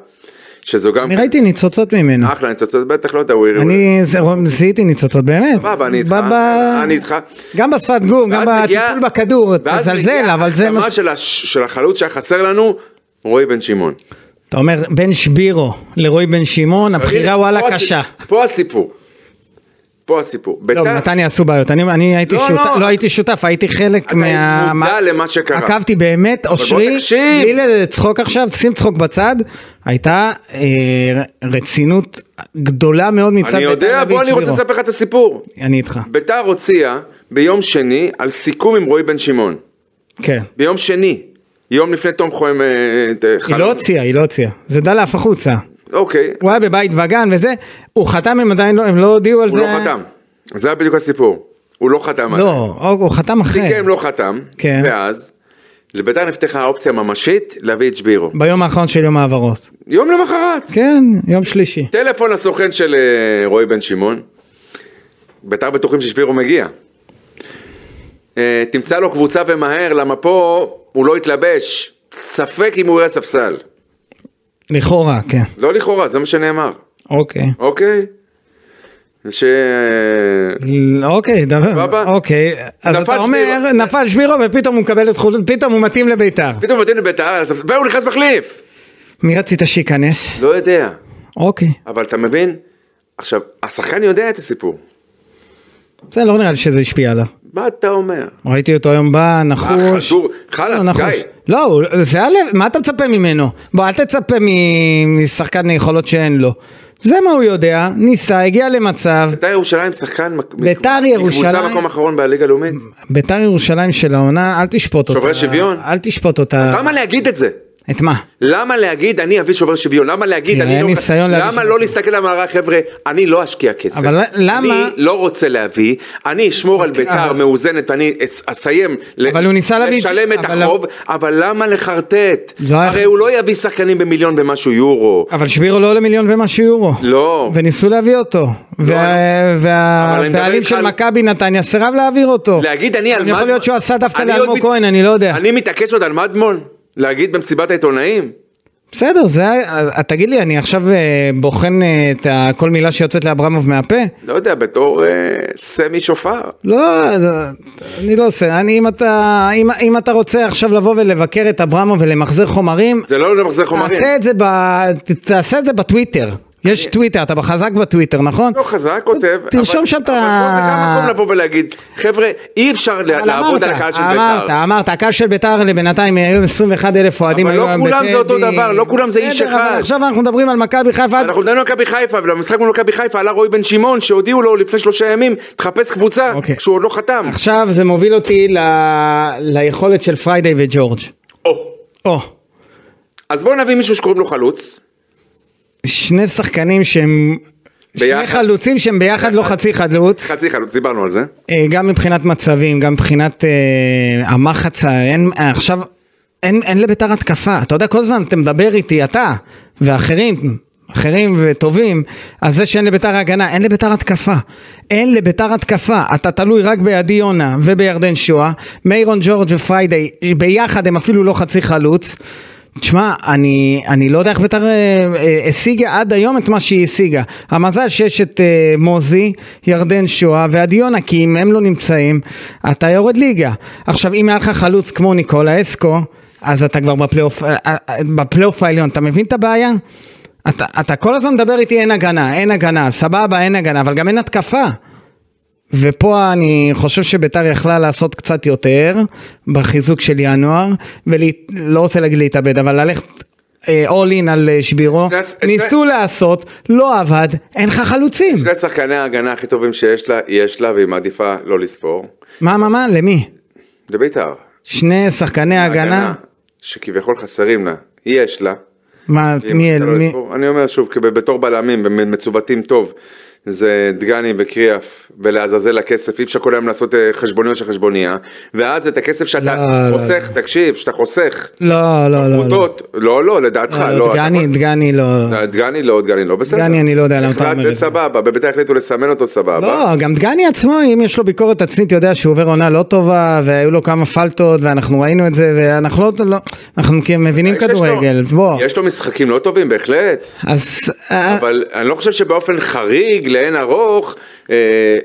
שזו גם אני ראיתי ניצוצות ממנו. אחלה ניצוצות, בטח לא יודע, הוא הראה. אני זה- זיהיתי ניצוצות באמת. סבבה, אני איתך, ב- ב- אני איתך. גם בשפת גוף, גם ואז מגיע- בטיפול בכדור, ואז תזלזל, מגיע אבל זה מה... ההחתמה ש- של הש- של החלוץ שהיה חסר לנו, רועי בן שמעון. אתה אומר, בין שבירו לרועי בן שמעון, הבחירה הנה, וואלה פה הסיפ- קשה. פה הסיפור. פה הסיפור. לא, ביתר- בנתניה עשו בעיות, אני, אני הייתי לא, שותף, לא. לא הייתי שותף, הייתי חלק אתה מה... מודע מה- למה שקרה. עקבתי באמת, בוא אושרי, תקשיב. בלי לצחוק עכשיו, שים צחוק בצד, הייתה אה, רצינות גדולה מאוד מצד אני יודע, בוא אני רוצה לספר לך את הסיפור. אני איתך, ביתר הוציאה ביום שני על סיכום עם רועי בן שמעון. כן. ביום שני, יום לפני תום חוהם... אה, אה, היא חלום. לא הוציאה, היא לא הוציאה, זה דלף החוצה. אוקיי, הוא היה בבית וגן וזה, הוא חתם, הם עדיין לא, הם לא הודיעו על הוא זה. לא חתם. זה היה בדיוק הסיפור. הוא לא חתם. עדיין. לא, הוא הוא חתם אחרי. סיכם לא חתם, כן. ואז לביתר נפתחה האופציה הממשית להביא את שבירו. ביום האחרון של יום ההעברות. יום למחרת, כן, יום שלישי. טלפון לסוכן של אה, רועי בן שמעון. ביתר בטוחים ששבירו מגיע. אה, תמצא לו קבוצה ומהר, למה פה הוא לא התלבש. ספק אם הוא יראה ספסל. לכאורה, כן. לא לכאורה, זה מה שנאמר. אוקיי. אוקיי? ש... ל- אוקיי, דבר, סבבה? אוקיי, אז נפל אתה אומר, שבירו. נפל שבירו ופתאום הוא מקבל את חולון, פתאום הוא מתאים לביתר. פתאום מתאים לביתר, והוא נכנס מחליף. מי רצית שייכנס? לא יודע, אוקיי, אבל אתה מבין? עכשיו, השחקן יודע את הסיפור. זה לא נראה לי שזה השפיע עליו. מה אתה אומר? ראיתי אותו היום בא, נחוש. חדור, חלאס, לא, נחוש. די. לא, הוא- זה הלב, מה אתה מצפה ממנו? בוא, אל תצפה מ- משחקן יכולות שאין לו. זה מה הוא יודע, ניסה, הגיע למצב. ביתר ירושלים שחקן... מק- ביתר היא ירושלים- קבוצה מקום אחרון בליגה הלאומית. ביתר ירושלים של העונה, אל תשפוט אותה. שוברי שוויון? אל תשפוט אותה. אז למה להגיד את זה? את מה? למה להגיד אני אביא שובר שוויון? למה להגיד תראה, אני לא... ניסיון להביא למה שובר לא להסתכל למערב חבר'ה? אני לא אשקיע כסף. אבל למה- אוקיי, אני לא רוצה להביא, אני אשמור על בית"ר אבל- מאוזנת ואני אס- אסיים ל- אבל הוא ניסה להביא- לשלם את אבל- החוב, אבל למה לחרטט? זה היה- הרי הוא לא יביא שחקנים במיליון ומשהו יורו. אבל שבירו לא עולה מיליון ומשהו יורו. לא. וניסו להביא אותו. וה- אבל אני מדבר והבעלים איתך של על- מכבי נתניה סירב להעביר אותו. להגיד אני על גם יכול להיות שהוא עשה דווקא אני עוד לאלמוג מת- כהן, אני לא יודע. אני מתעקש עוד על מדמון? להגיד במסיבת העיתונאים? בסדר, זה, ה- תגיד לי, אני עכשיו אה, בוחן אה, את ה- כל מילה שיוצאת לאברמוב מהפה? לא יודע, בתור אה, סמי שופר. לא, זה- אני לא עושה, אני, אם אתה, אם, אם אתה רוצה עכשיו לבוא ולבקר את אברמוב ולמחזר חומרים, זה לא למחזר חומרים. תעשה את זה, ב, ת- תעשה את זה בטוויטר. יש טוויטר, אתה חזק בטוויטר, נכון? לא חזק, כותב. תרשום אבל- שם את ה- אבל פה זה גם מקום לבוא ולהגיד, חבר'ה, אי אפשר לה- אבל לעבוד אמרת, על הקהל של בית"ר. אמרת, אמרת, הקהל של ביתר לבינתיים אה, היו 21 אלף אוהדים. אבל היו לא היום כולם בטדי. זה אותו דבר, לא כולם זה איש בסדר, אבל אחד. עכשיו אנחנו מדברים על מכבי חיפה. עד- אנחנו מדברים על מכבי חיפה, ולמשחק מול מכבי חיפה עלה רועי בן שמעון, שהודיעו לו לפני שלושה ימים, תחפש קבוצה, אוקיי. שהוא עוד לא חתם. עכשיו זה מוביל אותי ל- ליכולת של פריידי וג'ורג'. או, או, אז בואו נביא מישהו שקוראים לו חלוץ. שני שחקנים שהם... שני ביחד. חלוצים שהם ביחד לא חצי חלוץ. חצי חלוץ, דיברנו על זה. אה, גם מבחינת מצבים, גם מבחינת אה, המחץ, ה- אין, אה, עכשיו, אין, אין לביתר התקפה. אתה יודע, כל הזמן אתה מדבר איתי, אתה ואחרים, אחרים וטובים, על זה שאין לביתר הגנה, אין לביתר התקפה. אין לביתר התקפה. אתה תלוי רק בידי יונה ובירדן שואה, מיירון ג'ורג' ופריידי, ביחד הם אפילו לא חצי חלוץ. תשמע, אני, אני לא יודע איך ביתר אה, אה, השיגה עד היום את מה שהיא השיגה. המזל שיש את אה, מוזי, ירדן שואה ועדי יונה, כי אם הם לא נמצאים, אתה יורד ליגה. עכשיו, אם היה לך חלוץ כמו ניקולה אסקו, אז אתה כבר בפלייאוף, אה, אה, אה, בפלייאוף העליון. אתה מבין את הבעיה? אתה, אתה כל הזמן מדבר איתי אין הגנה, אין הגנה, סבבה, אין הגנה, אבל גם אין התקפה. ופה אני חושב שביתר יכלה לעשות קצת יותר בחיזוק של ינואר, ולא רוצה להגיד להתאבד, אבל ללכת אול אין על אה, שבירו, שני הס- ניסו לעשות, לא עבד, אין לך חלוצים. שני שחקני ההגנה הכי טובים שיש לה, יש לה, והיא מעדיפה לא לספור. מה, מה, מה, למי? זה בית"ר. שני שחקני הגנה? שכביכול חסרים לה. יש לה. מה, אם מי אתה אל... לא מי- לספור. אני אומר שוב, כי בתור בלמים, הם מצוותים טוב, זה דגני וקריאף, ולעזאזל הכסף, אי אפשר כל היום לעשות אה, חשבוניות של חשבונייה, ואז את הכסף שאתה לא, לא, חוסך, תקשיב, שאתה חוסך, לא, לא, לא, לא. פרוטות, לא, לא, לדעתך, לא, לא, לא, דגני, אתה- דגני לא. דגני לא, דגני לא, בסדר. דגני, אני לא יודע למה אתה אומר החלטת, את זה. סבבה, בביתר החליטו לסמן אותו סבבה. לא, גם דגני עצמו, אם יש לו ביקורת עצמית, יודע שהוא עובר עונה לא טובה, והיו לו כמה פלטות, ואנחנו ראינו את זה, ואנחנו לא, לא אנחנו כי מבינים יש- יש לו- כדורגל, בוא. יש לו משחקים לא טובים, בהחלט. אז אה, אבל אני לא חושב שבאופן חריג, לאין ארוך, אה,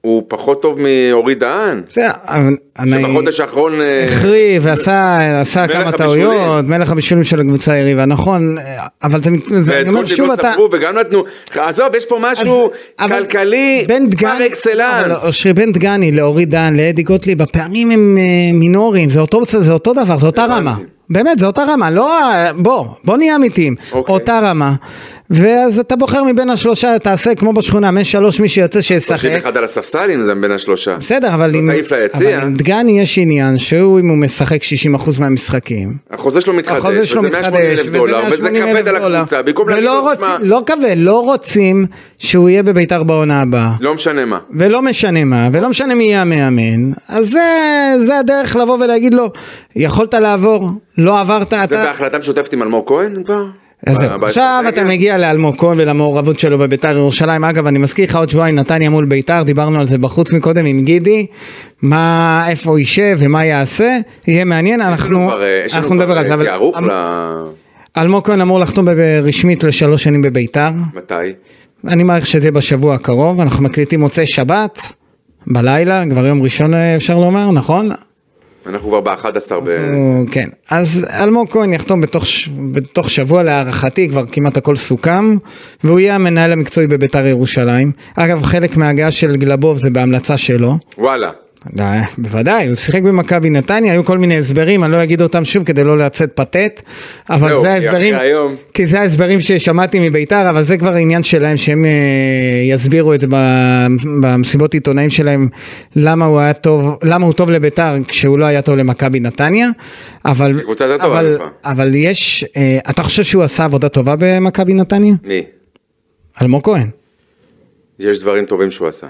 הוא פחות טוב מאורי דהן, זה, אבל אני שבחודש האחרון... אה, החריא ועשה עשה מלך כמה הבישולים. טעויות, מלך הבישולים של הקבוצה היריבה, נכון, אה, אבל זה, זה ואת אני אומר שוב קוטליבו אתה... ספרו וגם נתנו, עזוב, יש פה משהו אז- אבל כלכלי בן דגני- פר אבל לא, אקסלנס. אושרי בן דגני, לאורי דן, לאדי גוטליב, הפערים הם אה, מינוריים, זה אותו, זה אותו דבר, זה אותה הבנתי. רמה. באמת, זה אותה רמה, לא... ה- בוא, בוא נהיה אמיתיים. אוקיי. אותה רמה. ואז אתה בוחר מבין השלושה, תעשה כמו בשכונה, יש שלוש מי שיוצא תחשבי שישחק. אחד על הספסל אם זה בין השלושה. בסדר, אבל לא עם תעיף אבל ליציע. עם דגני יש עניין שהוא, אם הוא משחק 60% מהמשחקים, החוזה שלו מתחדש, החוזה שלו וזה 180 מתחדש, אלף דולר, וזה 180 אלף כבד על דולר. הקבוצה, במקום להגיד ולא לו, תשמע, רוצים, לא כבד, לא רוצים שהוא יהיה בביתר בעונה הבאה. לא משנה מה. ולא משנה מה, ולא משנה מי יהיה המאמן, אז זה, זה הדרך לבוא ולהגיד לו, יכולת לעבור, לא עברת, זה אתה... בהחלטה משותפת עם אלמוג כהן כבר? אז זהו. ב- ב- עכשיו רגע. אתה מגיע לאלמוג כהן ולמעורבות שלו בביתר ירושלים. אגב, אני מזכיר לך עוד שבועיים נתניה מול ביתר, דיברנו על זה בחוץ מקודם עם גידי, מה, איפה הוא יישב ומה יעשה, יהיה מעניין, יש לנו אנחנו, כבר, אה, יש לנו אנחנו נדבר כבר, על זה, אה, אבל כערוך אמ- ל... אלמוג כהן אמור לחתום ב- רשמית לשלוש שנים בביתר, מתי? אני מעריך שזה יהיה בשבוע הקרוב, אנחנו מקליטים מוצאי שבת, בלילה, כבר יום ראשון אה, אפשר לומר, נכון? אנחנו כבר ב-11 ב... הוא- כן, אז אלמוג כהן יחתום בתוך, ש- בתוך שבוע להערכתי, כבר כמעט הכל סוכם, והוא יהיה המנהל המקצועי בביתר ירושלים. אגב, חלק מההגעה של גלבוב זה בהמלצה שלו. וואלה. לא, בוודאי, הוא שיחק במכבי נתניה, היו כל מיני הסברים, אני לא אגיד אותם שוב כדי לא לצאת פתט, אבל זה זהו, לא, כי אחרי ההסברים, היום- כי זה ההסברים ששמעתי מביתר, אבל זה כבר עניין שלהם, שהם אה, יסבירו את זה ב- במסיבות עיתונאים שלהם, למה הוא היה טוב, למה הוא טוב לביתר כשהוא לא היה טוב למכבי נתניה, אבל, קבוצה יותר טובה אבל, ממך. אבל יש, אה, אתה חושב שהוא עשה עבודה טובה במכבי נתניה? מי? אלמוג כהן. יש דברים טובים שהוא עשה.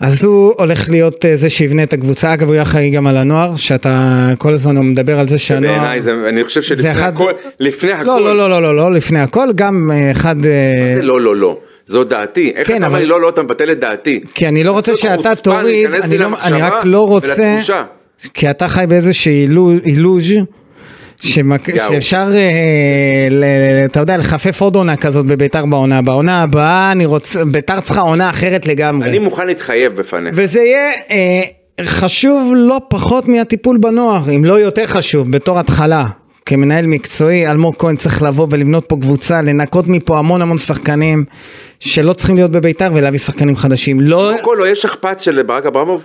אז הוא הולך להיות אה, זה שיבנה את הקבוצה, אגב הוא יהיה אחראי גם על הנוער, שאתה כל הזמן מדבר על זה שהנוער... בעיניי זה, אני חושב לא. זה שלפני אחד- הכל, לפני הכל, לא, לא, לא, לא, לא, לא, לפני הכל, גם אה, אחד... אה, זה לא, לא, לא, זו דעתי, איך כן, אתה אומר אבל- לי לא, לא, אתה מבטל את דעתי. כי אני לא רוצה זאת שאתה חוצפה, תוריד, להיכנס אני לי לא- אני למחשבה רק לא רוצה, ולתחושה. כי אתה חי באיזושהי אילו- אילוז' שמק... יאו. שאפשר, אה, ל... ל- אתה יודע, לחפף עוד עונה כזאת בביתר בעונה הבאה. בעונה הבאה, אני רוצה, ביתר צריכה עונה אחרת לגמרי. אני מוכן להתחייב בפניך. וזה יהיה אה, חשוב לא פחות מהטיפול בנוער, אם לא יותר חשוב, בתור התחלה. כמנהל מקצועי, אלמוג כהן צריך לבוא ולבנות פה קבוצה, לנקות מפה המון המון שחקנים שלא צריכים להיות בביתר ולהביא שחקנים חדשים. לא... קודם כל, לא, יש שכפ"ץ של ברק אברמוב?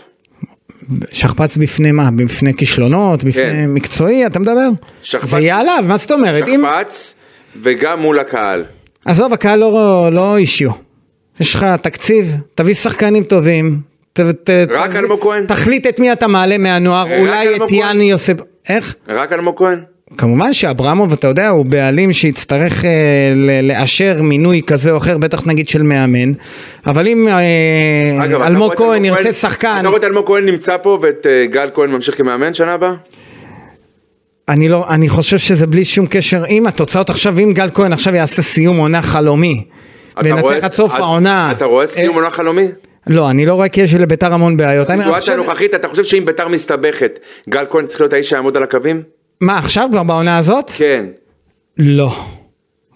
שכפ"ץ בפני מה? בפני כישלונות? בפני כן. מקצועי? אתה מדבר? שכפ"ץ. זה יהיה עליו, מה זאת אומרת? אם... שכפ"ץ וגם מול הקהל. עזוב, הקהל לא, לא אישיו. יש לך תקציב, תביא שחקנים טובים. ת, ת, רק תביא- אלמוג כהן? תחליט את מי אתה מעלה מהנוער, רק אולי את אלמוג כהן? יאני יוסף... איך? רק אלמוג כהן? כמובן שאברמוב, אתה יודע, הוא בעלים שיצטרך אה, ל- לאשר מינוי כזה או אחר, בטח נגיד של מאמן. אבל אם אה, אגב, אתה אלמוג רואה את כהן ירצה שחקן, אתה רואה את אלמוג כהן נמצא פה ואת אה, גל כהן ממשיך כמאמן שנה הבאה? אני לא, אני חושב שזה בלי שום קשר, אם התוצאות עכשיו, אם גל כהן עכשיו יעשה סיום עונה חלומי, אתה רואה- וינצח עד סוף אתה- העונה. אתה רואה אה, סיום עונה חלומי? לא, אני לא רואה כי יש לביתר המון בעיות. אני הסיטואציה חושב- הנוכחית, אתה חושב שאם ביתר מסתבכת, גל כהן צריך להיות האיש שיעמוד על הקווים? מה, עכשיו כבר בעונה הזאת? כן. לא לא.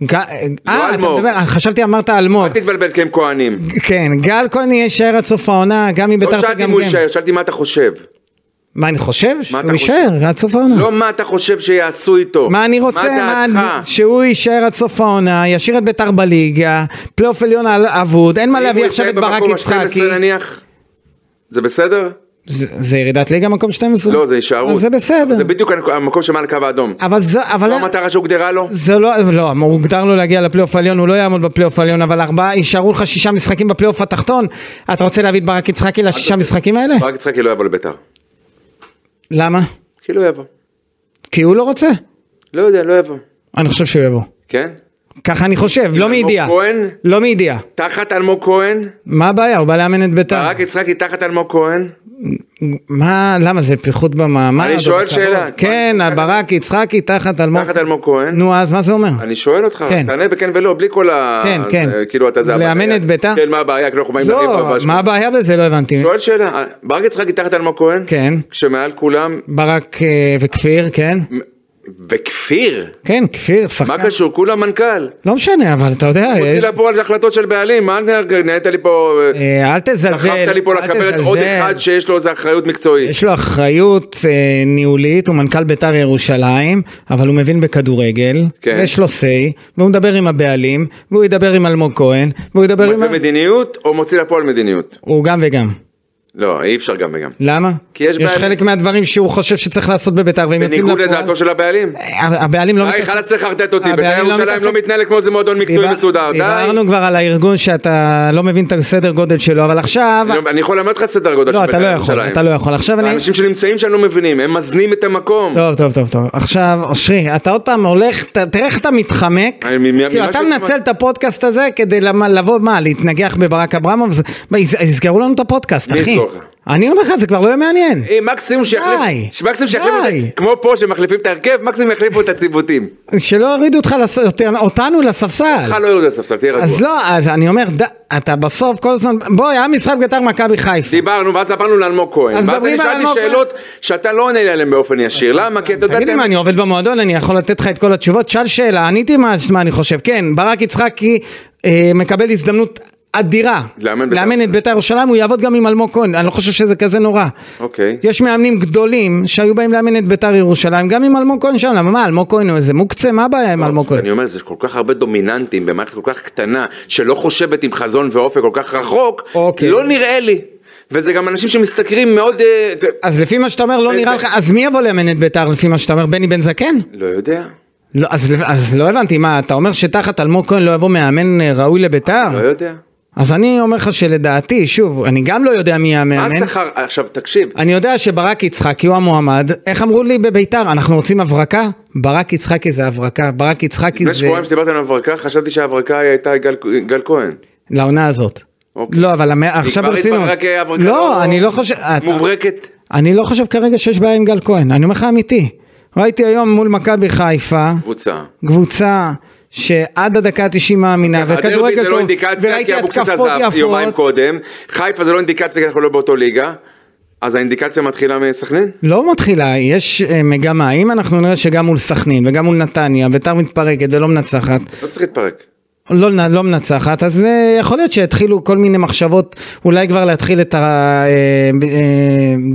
ג- אה, אתה אלמוג. מדבר, חשבתי אמרת אלמוג. אל תתבלבל כי הם כהנים. כן, גל כהן יהיה עד סוף העונה, גם כן. אה. אם לא ביתר שאלתי תגמגם. אם הוא יישאר, שאלתי מה אתה חושב. מה, אני חושב? אתה שהוא חושב? יישאר עד סוף העונה. לא מה אתה חושב שיעשו איתו. מה אני רוצה? מה מה דעתך? שהוא יישאר עד סוף העונה, ישאיר את ביתר בליגה, פלייאוף עליון על- אבוד, אין מה אם להביא הוא עכשיו יישאר את ברק במקום יצחקי. ה-12 נניח? זה בסדר? זה זה ירידת ליגה מקום 12? לא, זה הישארות. זה בסדר. זה בדיוק המקום שמעל הקו האדום. אבל זה, אבל... לא המטרה שהוגדרה לו? זה לא, לא, הוא הוגדר לו להגיע לפלייאוף העליון, הוא לא יעמוד בפלייאוף העליון, אבל ארבעה, יישארו לך שישה משחקים בפלייאוף התחתון, אתה רוצה להביא את ברק יצחקי לשישה משחקים האלה? ברק יצחקי לא יבוא לביתר. למה? כי לא יבוא. כי הוא לא רוצה? לא יודע, לא יבוא. אני חושב שהוא יבוא. כן? ככה אני חושב, לא אלמוג מידיעה. כהן? לא מידיעה. תחת אלמוג כהן? מה הבעיה? הוא בא לאמן את ביתר. ברק יצחקי תחת אלמוג כהן? מה, למה זה פיחות במעמד? אני או שואל בכבוד? שאלה. כן, תחת- ברק יצחקי תחת אלמוג. תחת אלמוג כהן? נו, אז מה זה אומר? אני שואל אותך, כן. תענה בכן ולא, בלי כל ה... כן, כן. אה, כאילו אתה זה לאמן הבעיה. את ביתר? כן, מה הבעיה? כי אנחנו באים לריב לא, ממש. מה הבעיה בזה? לא הבנתי. שואל שאלה, אה, ברק יצחקי תחת אלמוג כהן? כן. כשמעל כולם, ברק אה, וכפיר, כן? וכפיר, כן, כפיר, שחקן. מה קשור? כולה מנכ"ל. לא משנה, אבל אתה יודע, יש- מוציא לפועל החלטות של בעלים, מה נהנית לי פה, אה, אה, אל תזלזל. דחפת לי פה אל לכוורת תזלזל. עוד אחד שיש לו איזה אחריות מקצועית. יש לו אחריות אה, ניהולית, הוא מנכ"ל בית"ר ירושלים, אבל הוא מבין בכדורגל, כן. יש לו say, והוא מדבר עם הבעלים, והוא ידבר עם אלמוג כהן, והוא ידבר עם... מוצא מדיניות או מוציא לפועל מדיניות? הוא גם וגם. לא, אי אפשר גם וגם. למה? כי יש בעלים. חלק מהדברים שהוא חושב שצריך לעשות בבית"ר, והם יוצאים בניגוד לפועל. לדעתו של הבעלים. אה, הבעלים לא... די, מתעסק- חלאס לחרטט אותי, בית"ר הבעלים לא ירושלים לא מתעסק- מתנהל כמו איזה מועדון מקצועי דיבר- מסודר, די. דיברנו כבר על הארגון שאתה לא מבין את הסדר גודל שלו, אבל עכשיו... אני- לא אני יכול ללמד לך סדר גודל לא, של אתה בית"ר לא יכול, ירושלים. אתה לא יכול. עכשיו אני... האנשים שנמצאים שם לא מבינים, הם מזנים את המקום. טוב, טוב, טוב, טוב. עכשיו, אושרי, אתה עוד פעם הולך, ת- תראה איך אתה מתחמק. אני- מ- מ- כאילו, ממה אתה שאני מנצל שומע. את הפודקאסט הזה כדי למ- לבוא, מה, להתנגח בברק אברמוב? זה- מה, יס- יסגרו לנו את הפודקאסט, מי אחי. יסגור לך? אני אומר לך, זה כבר לא יהיה מעניין. אה, מקסימום שיחליף, די, מקסימום שיחליף, די. אותי, כמו פה שמחליפים את ההרכב, מקסימום יחליפו את הציוותים. שלא יורידו אותך, לס- אותנו- אותנו לספסל. לך אה, לא יורד לספסל, תהיה רגוע. אז לא, אז אני אומר, ד- אתה בסוף כל הזמן, בואי, היה משחק בית"ר מכבי חיפה. דיברנו, ואז עברנו לאלמוג אז כהן. ואז אני מדברים על שאלתי אלמוג כהן. אה, שאלות שאתה לא עונה לי עליהן באופן ישיר. למה? כי אתה יודע... תגיד לי אתה- מה, אני עובד במועדון, אני יכול לתת לך את כל התשובות? שאל שאלה, עניתי מה, מה אני חושב. כן, ברק יצחקי אה, מקבל הזדמנות אדירה. לאמן בית"ר. לאמן את בית"ר ירושלים, הוא יעבוד גם עם אלמוג כהן, אני לא חושב שזה כזה נורא. אוקיי. יש מאמנים גדולים שהיו באים לאמן את בית"ר ירושלים, גם עם אלמוג כהן שם, למה מה, אלמוג כהן הוא איזה מוקצה, מה הבעיה עם אלמוג כהן? לא, אני אומר, זה כל כך הרבה דומיננטים במערכת כל כך קטנה, שלא חושבת עם חזון ואופק כל כך רחוק, אוקיי. לא נראה לי. וזה גם אנשים שמשתכרים מאוד... אה, אז לפי מה שאתה אומר, לא בן- נראה לך, אז מי יבוא לאמן את בית"ר לפי מה שאתה אומר, בני בן זקן? לא יודע. לא, אז, אז לא הבנתי, מה, אתה אומר שתחת אלמוג כהן לא יבוא מאמן אה, ראוי לבית"ר? לא יודע. אז אני אומר לך שלדעתי, שוב, אני גם לא יודע מי יהיה מה המאמן. השכר? עכשיו, תקשיב. אני יודע שברק יצחקי הוא המועמד, איך אמרו לי בביתר, אנחנו רוצים הברקה? ברק יצחקי זה הברקה, ברק יצחקי לפני זה שבועיים שדיברת על הברקה, חשבתי שההברקה הייתה גל גל כהן. לעונה הזאת. אוקיי. לא, אבל המ- עכשיו כבר ברצינות. התבררה כהברקה לא, אני לא חושב... אתה- מוברקת. אני לא חושב כרגע שיש בעיה עם גל כהן, אני אומר לך אמיתי. ראיתי היום מול מכבי חיפה, קבוצה. קבוצה שעד הדקה ה-90 מאמינה, הדרבי וכדורגל זה טוב, לא אינדיקציה, וראיתי כי אבוקסיס התקפות עזב יפות. יומיים קודם. חיפה זה לא אינדיקציה, כי אנחנו לא באותו ליגה. אז האינדיקציה מתחילה מסכנין? לא מתחילה, יש אה, מגמה, אם אנחנו נראה שגם מול סכנין וגם מול נתניה, ביתר מתפרקת ולא מנצחת, לא צריך להתפרק. לא, לא מנצחת, אז אה, יכול להיות שהתחילו כל מיני מחשבות, אולי כבר להתחיל את אה,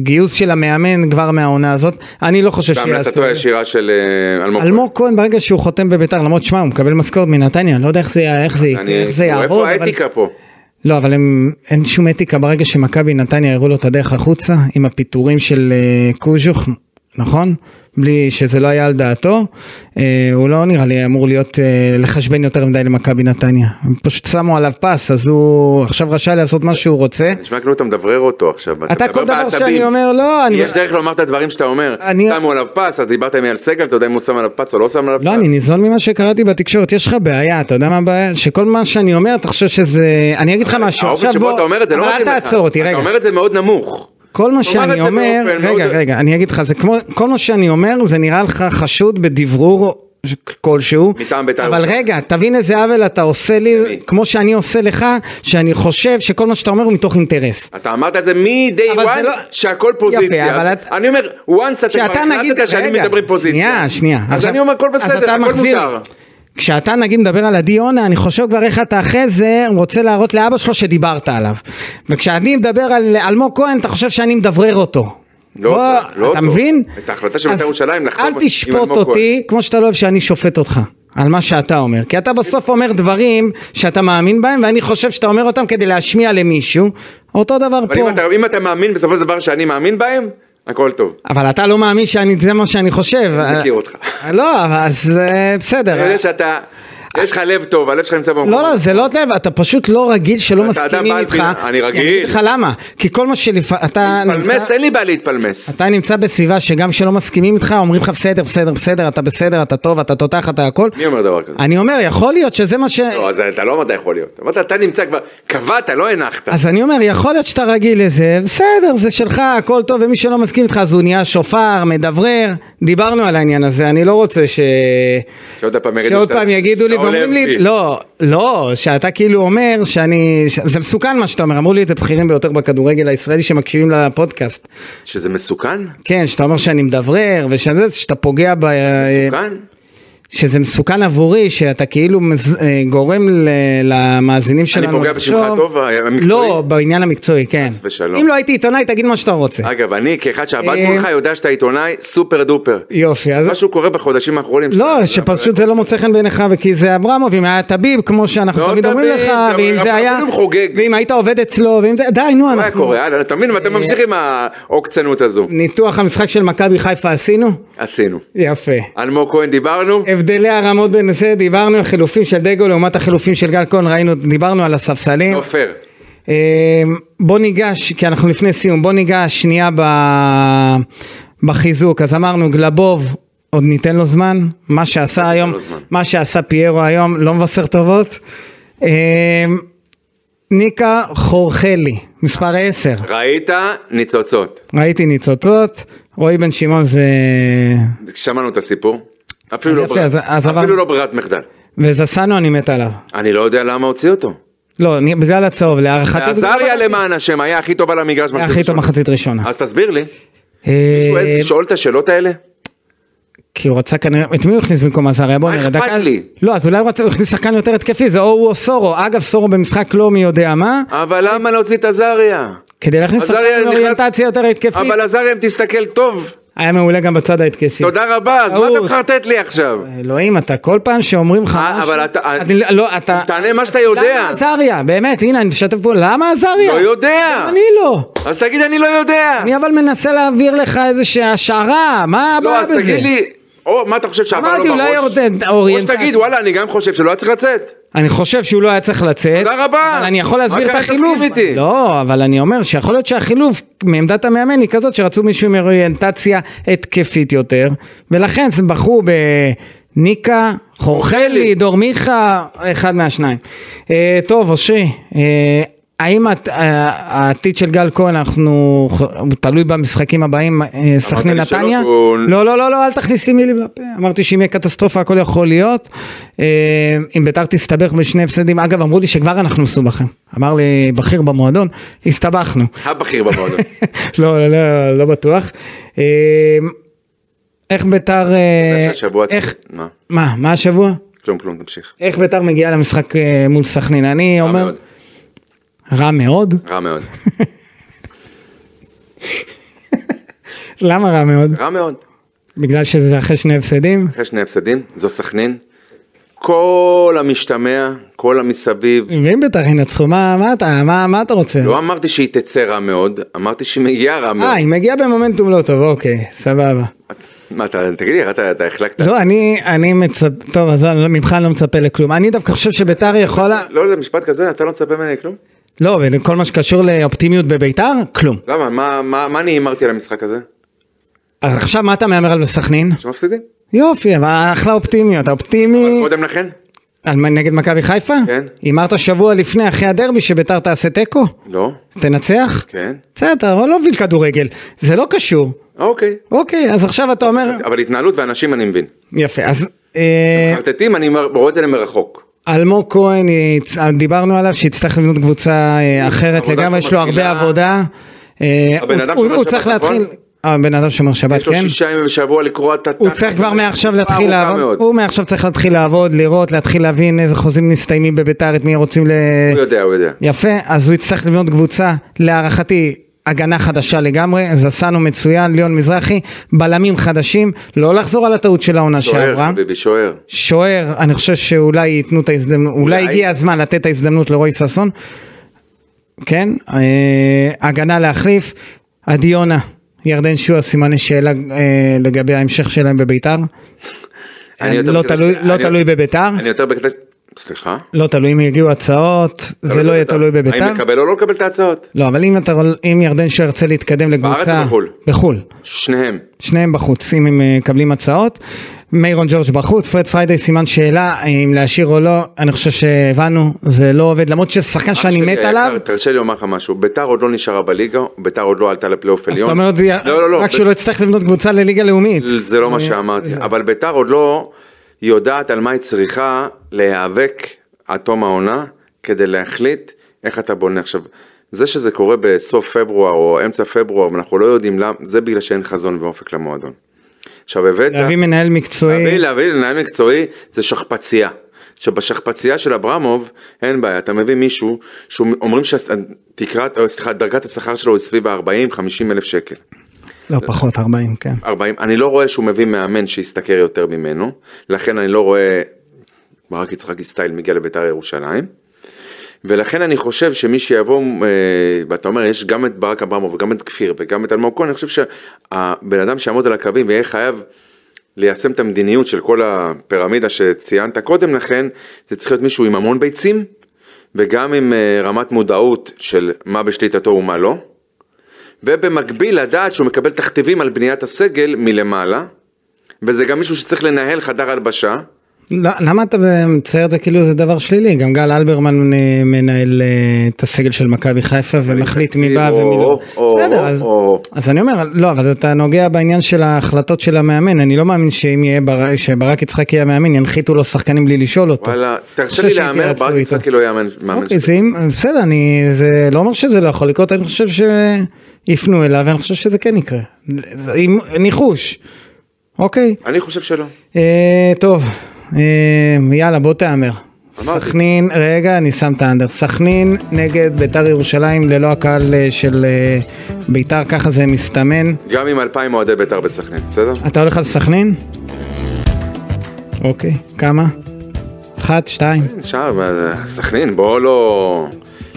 הגיוס של המאמן כבר מהעונה הזאת, אני לא חושב בהמלצתו שיעשו. את זה. הישירה של אה, אלמוג. כהן. אלמוג כהן ברגע שהוא חותם בביתר, למרות שמע, הוא מקבל משכורת מנתניה, אני לא יודע איך זה, איך זה, אני- יקרה, איך כן, זה הוא, יעבוד. איפה אבל- האתיקה פה? לא, אבל הם, אין שום אתיקה ברגע שמכבי נתניה הראו לו את הדרך החוצה עם הפיטורים של אה, קוז'וך, נכון? בלי שזה לא היה על דעתו, אה, הוא לא נראה לי אמור להיות, אה, לחשבן יותר מדי למכבי נתניה. הם פשוט שמו עליו פס, אז הוא עכשיו רשאי לעשות מה שהוא רוצה. נשמע כאילו אתה מדברר אותו עכשיו. אתה מדבר כל דבר בעצבים. שאני אומר, לא, אני... יש דרך לומר את הדברים שאתה אומר. אני- שמו עליו פס, אז דיברת עם אייל סגל, אתה יודע אם הוא שם עליו פס או לא שם עליו פס. לא, אני ניזון ממה שקראתי בתקשורת, יש לך בעיה, אתה יודע מה הבעיה? שכל מה שאני אומר, אתה חושב שזה... אני אגיד לך משהו, האופן עכשיו שבו אתה אומר את זה לא אבל מתאים לך. אל תעצור אותי, רגע. אתה אומר את זה מאוד נמוך. כל מה תאמר את שאני זה אומר, באופן רגע, מאוד- רגע, אני אגיד לך, זה כמו, כל מה שאני אומר, זה נראה לך חשוד בדברור ש- כלשהו. מטעם בית"ר אבל ירושלים. רגע, תבין איזה עוול אתה עושה לי, אני. כמו שאני עושה לך, שאני חושב שכל מה שאתה אומר הוא מתוך אינטרס. אתה אמרת את זה מ-day אבל זה one לא- שהכל פוזיציה. יפה, אבל אז את- אני אומר, once אתה כבר כשאתה נגיד, החלטת שאני רגע, מדבר פוזיציה. שנייה, שנייה. אז עכשיו- אני אומר, הכל אז בסדר, אתה הכל מחזיר. מותר. כשאתה נגיד מדבר על עדי יונה, אני חושב כבר איך אתה אחרי זה רוצה להראות לאבא שלו שדיברת עליו. וכשאני מדבר על אלמוג כהן, אתה חושב שאני מדברר אותו. לא אותו, לא אתה אותו. מבין? את ההחלטה של בית"ר אז ירושלים לחתום אל עם תשפוט אלמוג אותי כמו שאתה לא אוהב שאני שופט אותך. על מה שאתה אומר, כי אתה בסוף אומר דברים שאתה מאמין בהם ואני חושב שאתה אומר אותם כדי להשמיע למישהו, אותו דבר אבל פה. אם אתה- אם אתה מאמין בסופו של דבר שאני מאמין בהם, הכל טוב. אבל אתה לא מאמין שאני, זה מה שאני חושב. אני מכיר אותך. לא, אבל אז אה, אני בסדר. יודע שאתה, יש לך לב טוב, הלב שלך נמצא במקום. לא, לא, זה לא לב, אתה פשוט לא רגיל שלא אתה אדם מסכימים בעל איתך. פינה, אני רגיל. אני אגיד לך למה, כי כל מה שלפעמים, אתה פלמס, נמצא... אין לי בעיה להתפלמס. אתה נמצא בסביבה שגם כשלא מסכימים איתך, אומרים לך בסדר, בסדר, בסדר, אתה בסדר, אתה טוב, אתה תותח, אתה הכל. מי אומר דבר כזה? אני אומר, יכול להיות שזה מה ש... לא, אז אתה לא אמרת יכול להיות. אמרת, אתה נמצא כבר, קבעת, לא הנחת. אז אני אומר, יכול להיות שאתה רגיל לזה, בסדר, זה שלך, הכל טוב, ומי שלא מסכים איתך אז הוא נהיה שופר, מדברר, דיברנו על העניין הזה, אני לא רוצה ש... שעוד פעם יגידו שעוד שאתה- פעם יגידו לי, שאתה ואומרים עולה לי, בי. לא, לא, שאתה כאילו אומר שאני... ש- זה מסוכן מה שאתה אומר, אמרו לי את זה בכירים ביותר בכדורגל הישראלי שמקשיבים לפודקאסט. שזה מסוכן? כן, שאתה אומר שאני מדברר, ושזה, שאתה פוגע ב... אה, מסוכן? שזה מסוכן עבורי, שאתה כאילו מז... אה, גורם ל... למאזינים שלנו פוגע בשמך הטוב, המקצועי? לא, בעניין המקצועי, כן. חס ושלום. אה, אם לא הייתי עיתונאי, תגיד מה שאתה רוצה. אגב, אני כאחד שעבד אה, מולך יודע שאתה עיתונאי סופר דופר. יופי, אז... משהו קורה בחודשים האחרונים. לא, שאתה- שפשוט זה לא מוצא חן בעיניך, וכי זה אברמוב, אם היה טביב, כמו שאנחנו לא תמיד אומרים טביב, לך, גם- ואם אפילו זה היה... אם חוגג. ואם היית עובד אצלו, ואם זה... די, נו, מה אנחנו... אה, קורה? הלאה, אתה מבין? אתה ממשיך עם העוקצנות הזו. ניתוח המשחק של מכבי חיפה עשינו? עשינו. יפה. אלמוג כהן דיברנו? הבדלי הרמות בין זה, דיברנו על חילופים של דגו לעומת החילופים של גל כהן, ראינו, דיברנו על הספסלים. לא פייר. אמ, בוא ניגש, כי אנחנו לפני סיום, בוא ניגש שנייה ב... בחיזוק. אז אמרנו גלבוב, עוד ניתן לו זמן. מה שעשה היום, לו זמן. מה שעשה פיירו היום, לא מבשר טובות. אמ, ניקה חורחלי, מספר 10. ראית ניצוצות. ראיתי ניצוצות, רועי בן שמעון זה... שמענו את הסיפור. אפילו אז לא יפה, ברירת- אז- אז עבר- אפילו לא ברירת מחדל. וזסנו אני מת עליו. אני לא יודע למה הוציא אותו. לא, אני- בגלל הצהוב, להערכתי... עזריה למען השם היה הכי טוב על המגרש. היה מחצית הכי טוב ראשונה. מחצית ראשונה. אז תסביר לי. מישהו העז אה, לשאול את השאלות האלה? כי הוא רצה כנראה, את מי הוא הכניס במקום עזריה? בוא מה נראה. אכפת דקה- לי? לא, אז אולי הוא רצה- הוא הכניס שחקן יותר התקפי, זה או הוא או סורו. אגב, סורו במשחק לא מי יודע מה, אבל למה להוציא את עזריה? כדי להכניס שחקן עזריה עם נכנס- אוריינטציה יותר התקפית. אבל עזריה אם תסתכל טוב. היה מעולה גם בצד ההתקפי. תודה רבה, אז מה אתה טעות. מחרטט לי עכשיו? אה. אלוהים, אתה כל פעם שאומרים לך אה, אבל אתה- אני- לא, אתה... תענה מה שאתה יודע. למה עזריה? באמת, הנה, אני משתף פה, למה עזריה? לא יודע. גם אני לא. אז תגיד אני לא יודע. אני אבל מנסה להעביר לך איזושהי השערה, מה הבעיה לא, בזה? אז תגיד לי, או מה אתה חושב שעבר לו אמרתי, בראש? אולי עוד- או אוריינטציה. שתגיד, וואלה, אני גם חושב שלא היה צריך לצאת. אני חושב שהוא לא היה צריך לצאת. תודה רבה. אבל אני יכול מה להסביר את קרה, החילוף. תסכים איתי. לא, אבל אני אומר שיכול להיות שהחילוף מעמדת המאמן היא כזאת שרצו מישהו עם אוריינטציה התקפית יותר, ולכן זה בחרו בניקה, חורחלי, דור מיכה, אחד מהשניים. אה, טוב, אושרי, אה, האם הת- ה- העתיד של גל כהן, אנחנו, הוא תלוי במשחקים הבאים, אה, סכנין לי שלא, נתניה? שהוא- לא, לא, לא, לא, אל תכניס לי מילים לפה. אמרתי שאם יהיה קטסטרופה הכל יכול להיות. אה, אם ביתר תסתבך בשני הפסדים, אגב, אמרו לי שכבר אנחנו מסובכים. אמר לי בכיר במועדון, הסתבכנו. הבכיר במועדון. לא, לא, לא בטוח. אה, איך ביתר... אה, יש השבוע- איך... מה? מה, מה השבוע? כלום, כלום, תמשיך. איך ביתר מגיעה למשחק אה, מול סכנין? אני רע אומר... מאוד, רע מאוד? רע מאוד. למה רע מאוד? רע מאוד. בגלל שזה אחרי שני הפסדים? אחרי שני הפסדים, זו סכנין. כל המשתמע, כל המסביב. ואם ביתר ינצחו, מה, מה, אתה, מה, מה אתה רוצה? לא אמרתי שהיא תצא רע מאוד, אמרתי שהיא מגיעה רע אה, מאוד. היא מגיעה במומנטום לא טוב, אוקיי, סבבה. מה, אתה, תגיד לי, אתה אתה החלקת. לא, אני, אני מצפ... טוב, אז אני לא- ממך אני לא מצפה לכלום. אני דווקא חושב שביתר יכולה... לא, זה משפט כזה, אתה לא מצפה ממני כלום? לא, וכל מה שקשור לאופטימיות בביתר, כלום. למה, מה- מה מה אני הימרתי על המשחק הזה? אז עכשיו מה אתה מהמר על סכנין? שמפסידים? אה. יופי, אבל אחלה אופטימיות, אופטימי... אבל קודם לכן? על מה, נגד מכבי חיפה? כן. הימרת שבוע לפני, אחרי הדרבי, שביתר תעשה תיקו? לא. תנצח? כן. בסדר, אבל לא מבין כדורגל, זה לא קשור. אוקיי. אוקיי, אז עכשיו אתה אומר... אבל התנהלות ואנשים אני מבין. יפה, אז... אה, חרטטים, אני מר- רואה את זה למרחוק. אלמוג כהן, יצ- דיברנו עליו שיצטרך לבנות קבוצה אה, אחרת עבודה לגמרי, יש לו הרבה כן, מתחילה. עבודה. אה, הבן אדם הוא- שומר הוא שבת, צריך נכון? להתחיל... אה, הבן אדם שומר שבת, יש לו כן? שישה ימים בשבוע לקרוא את הוא צריך כבר מעכשיו להתחיל ארוכה לעבוד, אוקיי. מאוד. הוא מעכשיו צריך להתחיל לעבוד, לראות, להתחיל להבין איזה חוזים מסתיימים בביתר, את מי רוצים ל... הוא יודע, הוא יודע. יפה, אז הוא יצטרך לבנות קבוצה, להערכתי, הגנה חדשה לגמרי, זסנו מצוין, ליאון מזרחי, בלמים חדשים, לא לחזור על הטעות של העונה שוער, שעברה. חביבי, שוער. שוער, אני חושב שאולי ייתנו את ההזדמנות, אולי אולי. הגיע הזמן לתת את ההזדמנות לרועי ששון. כן, אה, הגנה להחליף, עדי יונה, ירדן שועה, סימני שאלה אה, לגבי ההמשך שלהם בביתר. אני יותר לא בקטע תלוי- של- לא אני- תלוי בביתר, אני יותר בקטע... סליחה? לא תלוי אם יגיעו הצעות, זה לא יהיה תלוי בביתר. האם לקבל או לא לקבל את ההצעות? לא, אבל אם, אתה, אם ירדן שועה ירצה להתקדם לקבוצה... בארץ או בחו"ל? בחו"ל. שניהם. שניהם בחוץ, אם הם אה, מקבלים הצעות. מיירון ג'ורג' בחוץ, פרד פריידי סימן שאלה אה, אם להשאיר או לא, אני חושב שהבנו, זה לא עובד, למרות ששחקן אח שאני שלי מת היקר, עליו, תרשה לי לומר לך משהו, ביתר עוד לא נשארה בליגה, ביתר עוד לא עלתה לפלייאוף אז עליון. אתה אומר את זה, לא, לא, לא. רק ב- שלא יצטרך לבנות קבוצה לליגה לאומית. אה, זה לא מה שאמרתי, אבל ביתר עוד לא יודעת על מה היא צריכה להיאבק עד תום העונה כדי להחליט איך אתה בונה. עכשיו, זה שזה קורה בסוף פברואר או אמצע פברואר, ואנחנו לא יודעים למה, זה בגלל שאין חזון ואופק למועדון. עכשיו הבאת... להביא מנהל מקצועי, להביא, להביא לנהל מקצועי זה שכפצייה. שבשכפצייה של אברמוב אין בעיה, אתה מביא מישהו שאומרים שתקרת, או סליחה, דרגת השכר שלו היא סביב ה-40-50 אלף שקל. לא פחות 40, כן. 40, אני לא רואה שהוא מביא מאמן שישתכר יותר ממנו, לכן אני לא רואה ברק יצחקי סטייל מגיע לביתר ירושלים. ולכן אני חושב שמי שיבוא, אה, ואתה אומר, יש גם את ברק אברמוב וגם את כפיר וגם את אלמוג כהן, אני חושב שהבן אדם שיעמוד על הקווים ויהיה חייב ליישם את המדיניות של כל הפירמידה שציינת קודם לכן, זה צריך להיות מישהו עם המון ביצים, וגם עם אה, רמת מודעות של מה בשליטתו ומה לא, ובמקביל לדעת שהוא מקבל תכתיבים על בניית הסגל מלמעלה, וזה גם מישהו שצריך לנהל חדר הלבשה. לא, למה אתה מצייר את זה כאילו זה דבר שלילי? גם גל אלברמן אה, מנהל אה, את הסגל של מכבי חיפה ומחליט מי תקציב, בא או, ומי לא. או, בסדר, או, אז- או. אז אני אומר, לא, אבל אתה נוגע בעניין של ההחלטות של המאמן, אני לא מאמין שאם יהיה, בר- שברק יצחקי יהיה המאמן, ינחיתו לו שחקנים בלי לשאול אותו. וואלה, תרשה חושב לי להמר, שיתייעצו ברק איתו. יצחקי לא יאמן מאמן אוקיי, שלי. זה אם, בסדר, אני, זה לא אומר שזה לא יכול לקרות, אני חושב שיפנו אליו, ואני חושב שזה כן יקרה. זה- עם- ניחוש, אוקיי. אני חושב שלא. אה, טוב, אה, יאללה בוא תהמר. אמרתי. סכנין, רגע, אני שם את האנדר. סכנין נגד ביתר ירושלים ללא הקהל אה, של אה, ביתר, ככה זה מסתמן. גם עם אלפיים אוהדי בית"ר בסכנין, בסדר? אתה הולך על סכנין? אוקיי, כמה? אחת, שתיים. נשאר, אבל, אה, סכנין, בוא לא...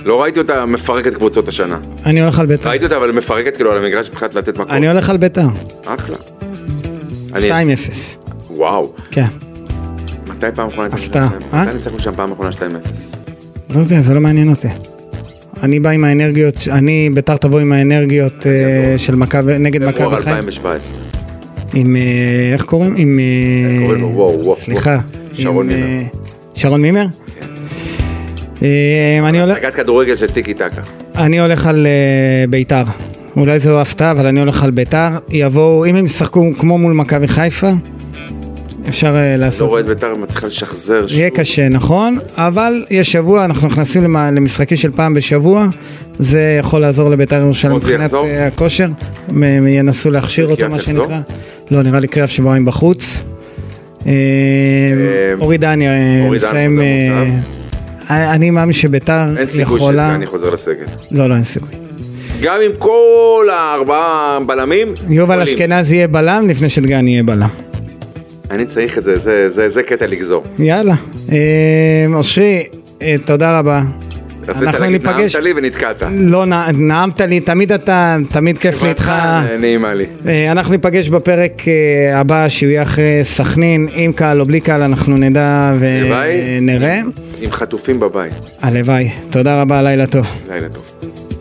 לא ראיתי אותה מפרקת קבוצות השנה. אני הולך על ביתר. ראיתי אותה אבל מפרקת כאילו על המגרש מבחינת לתת מקום. אני הולך על ביתר. אחלה. 2-0. אני- וואו. כן. מתי פעם אחרונה ניצחנו הפתעה, שם? אה? מתי ניצחנו שם פעם אחרונה 2-0? לא יודע, זה לא מעניין אותי. אני בא עם האנרגיות, אני, ביתר תבוא עם האנרגיות אה, יעזור. של מכבי, נגד פברואר מכבי חיפה. 2017. עם אה, איך קוראים? עם אה, קוראים לו? וואו, וואו, סליחה, וואו. שרון כן. עם, אה, מימר. שרון מימר? אה, אני הולך- הצגת כדורגל של טיקי טקה. אני הולך על אה, ביתר. אולי זו הפתעה, אבל אני הולך על ביתר. יבואו, אם הם ישחקו כמו מול מכבי חיפה, אפשר אה, לא לעשות... רואה את בית"ר מצליחה לשחזר שוב. יהיה קשה, נכון? אבל יש שבוע, אנחנו נכנסים למ- למשחקים של פעם בשבוע, זה יכול לעזור לביתר ירושלים עוזי מבחינת יחזור? אה, הכושר. הם הם ינסו להכשיר אותו, וקריאף מה יחזור? שנקרא. לא, נראה לי קריאף שבועיים בחוץ. אה, אורי דני אה, אורי דן מסיים... חוזר אה, אני אני מאמין שביתר אין סיכוי יכולה... שאני חוזר לסגל. לא, לא, אין סיכוי. גם עם כל הארבעה בלמים. יובל עולים. אשכנזי יהיה בלם לפני שדגני יהיה בלם. אני צריך את זה, זה, זה, זה קטע לגזור. יאללה. אה, אושרי, אה, תודה רבה. רצית להגיד נעמת לי ונתקעת. לא, נע- נעמת לי, תמיד אתה, תמיד כיף לי איתך. אה, נעימה לי. אה, אנחנו ניפגש בפרק אה, הבא, שהוא יהיה אחרי סכנין, עם קהל או בלי קהל, אנחנו נדע הלוואי. ונראה. עם חטופים בבית. הלוואי. תודה רבה, לילה טוב. לילה טוב.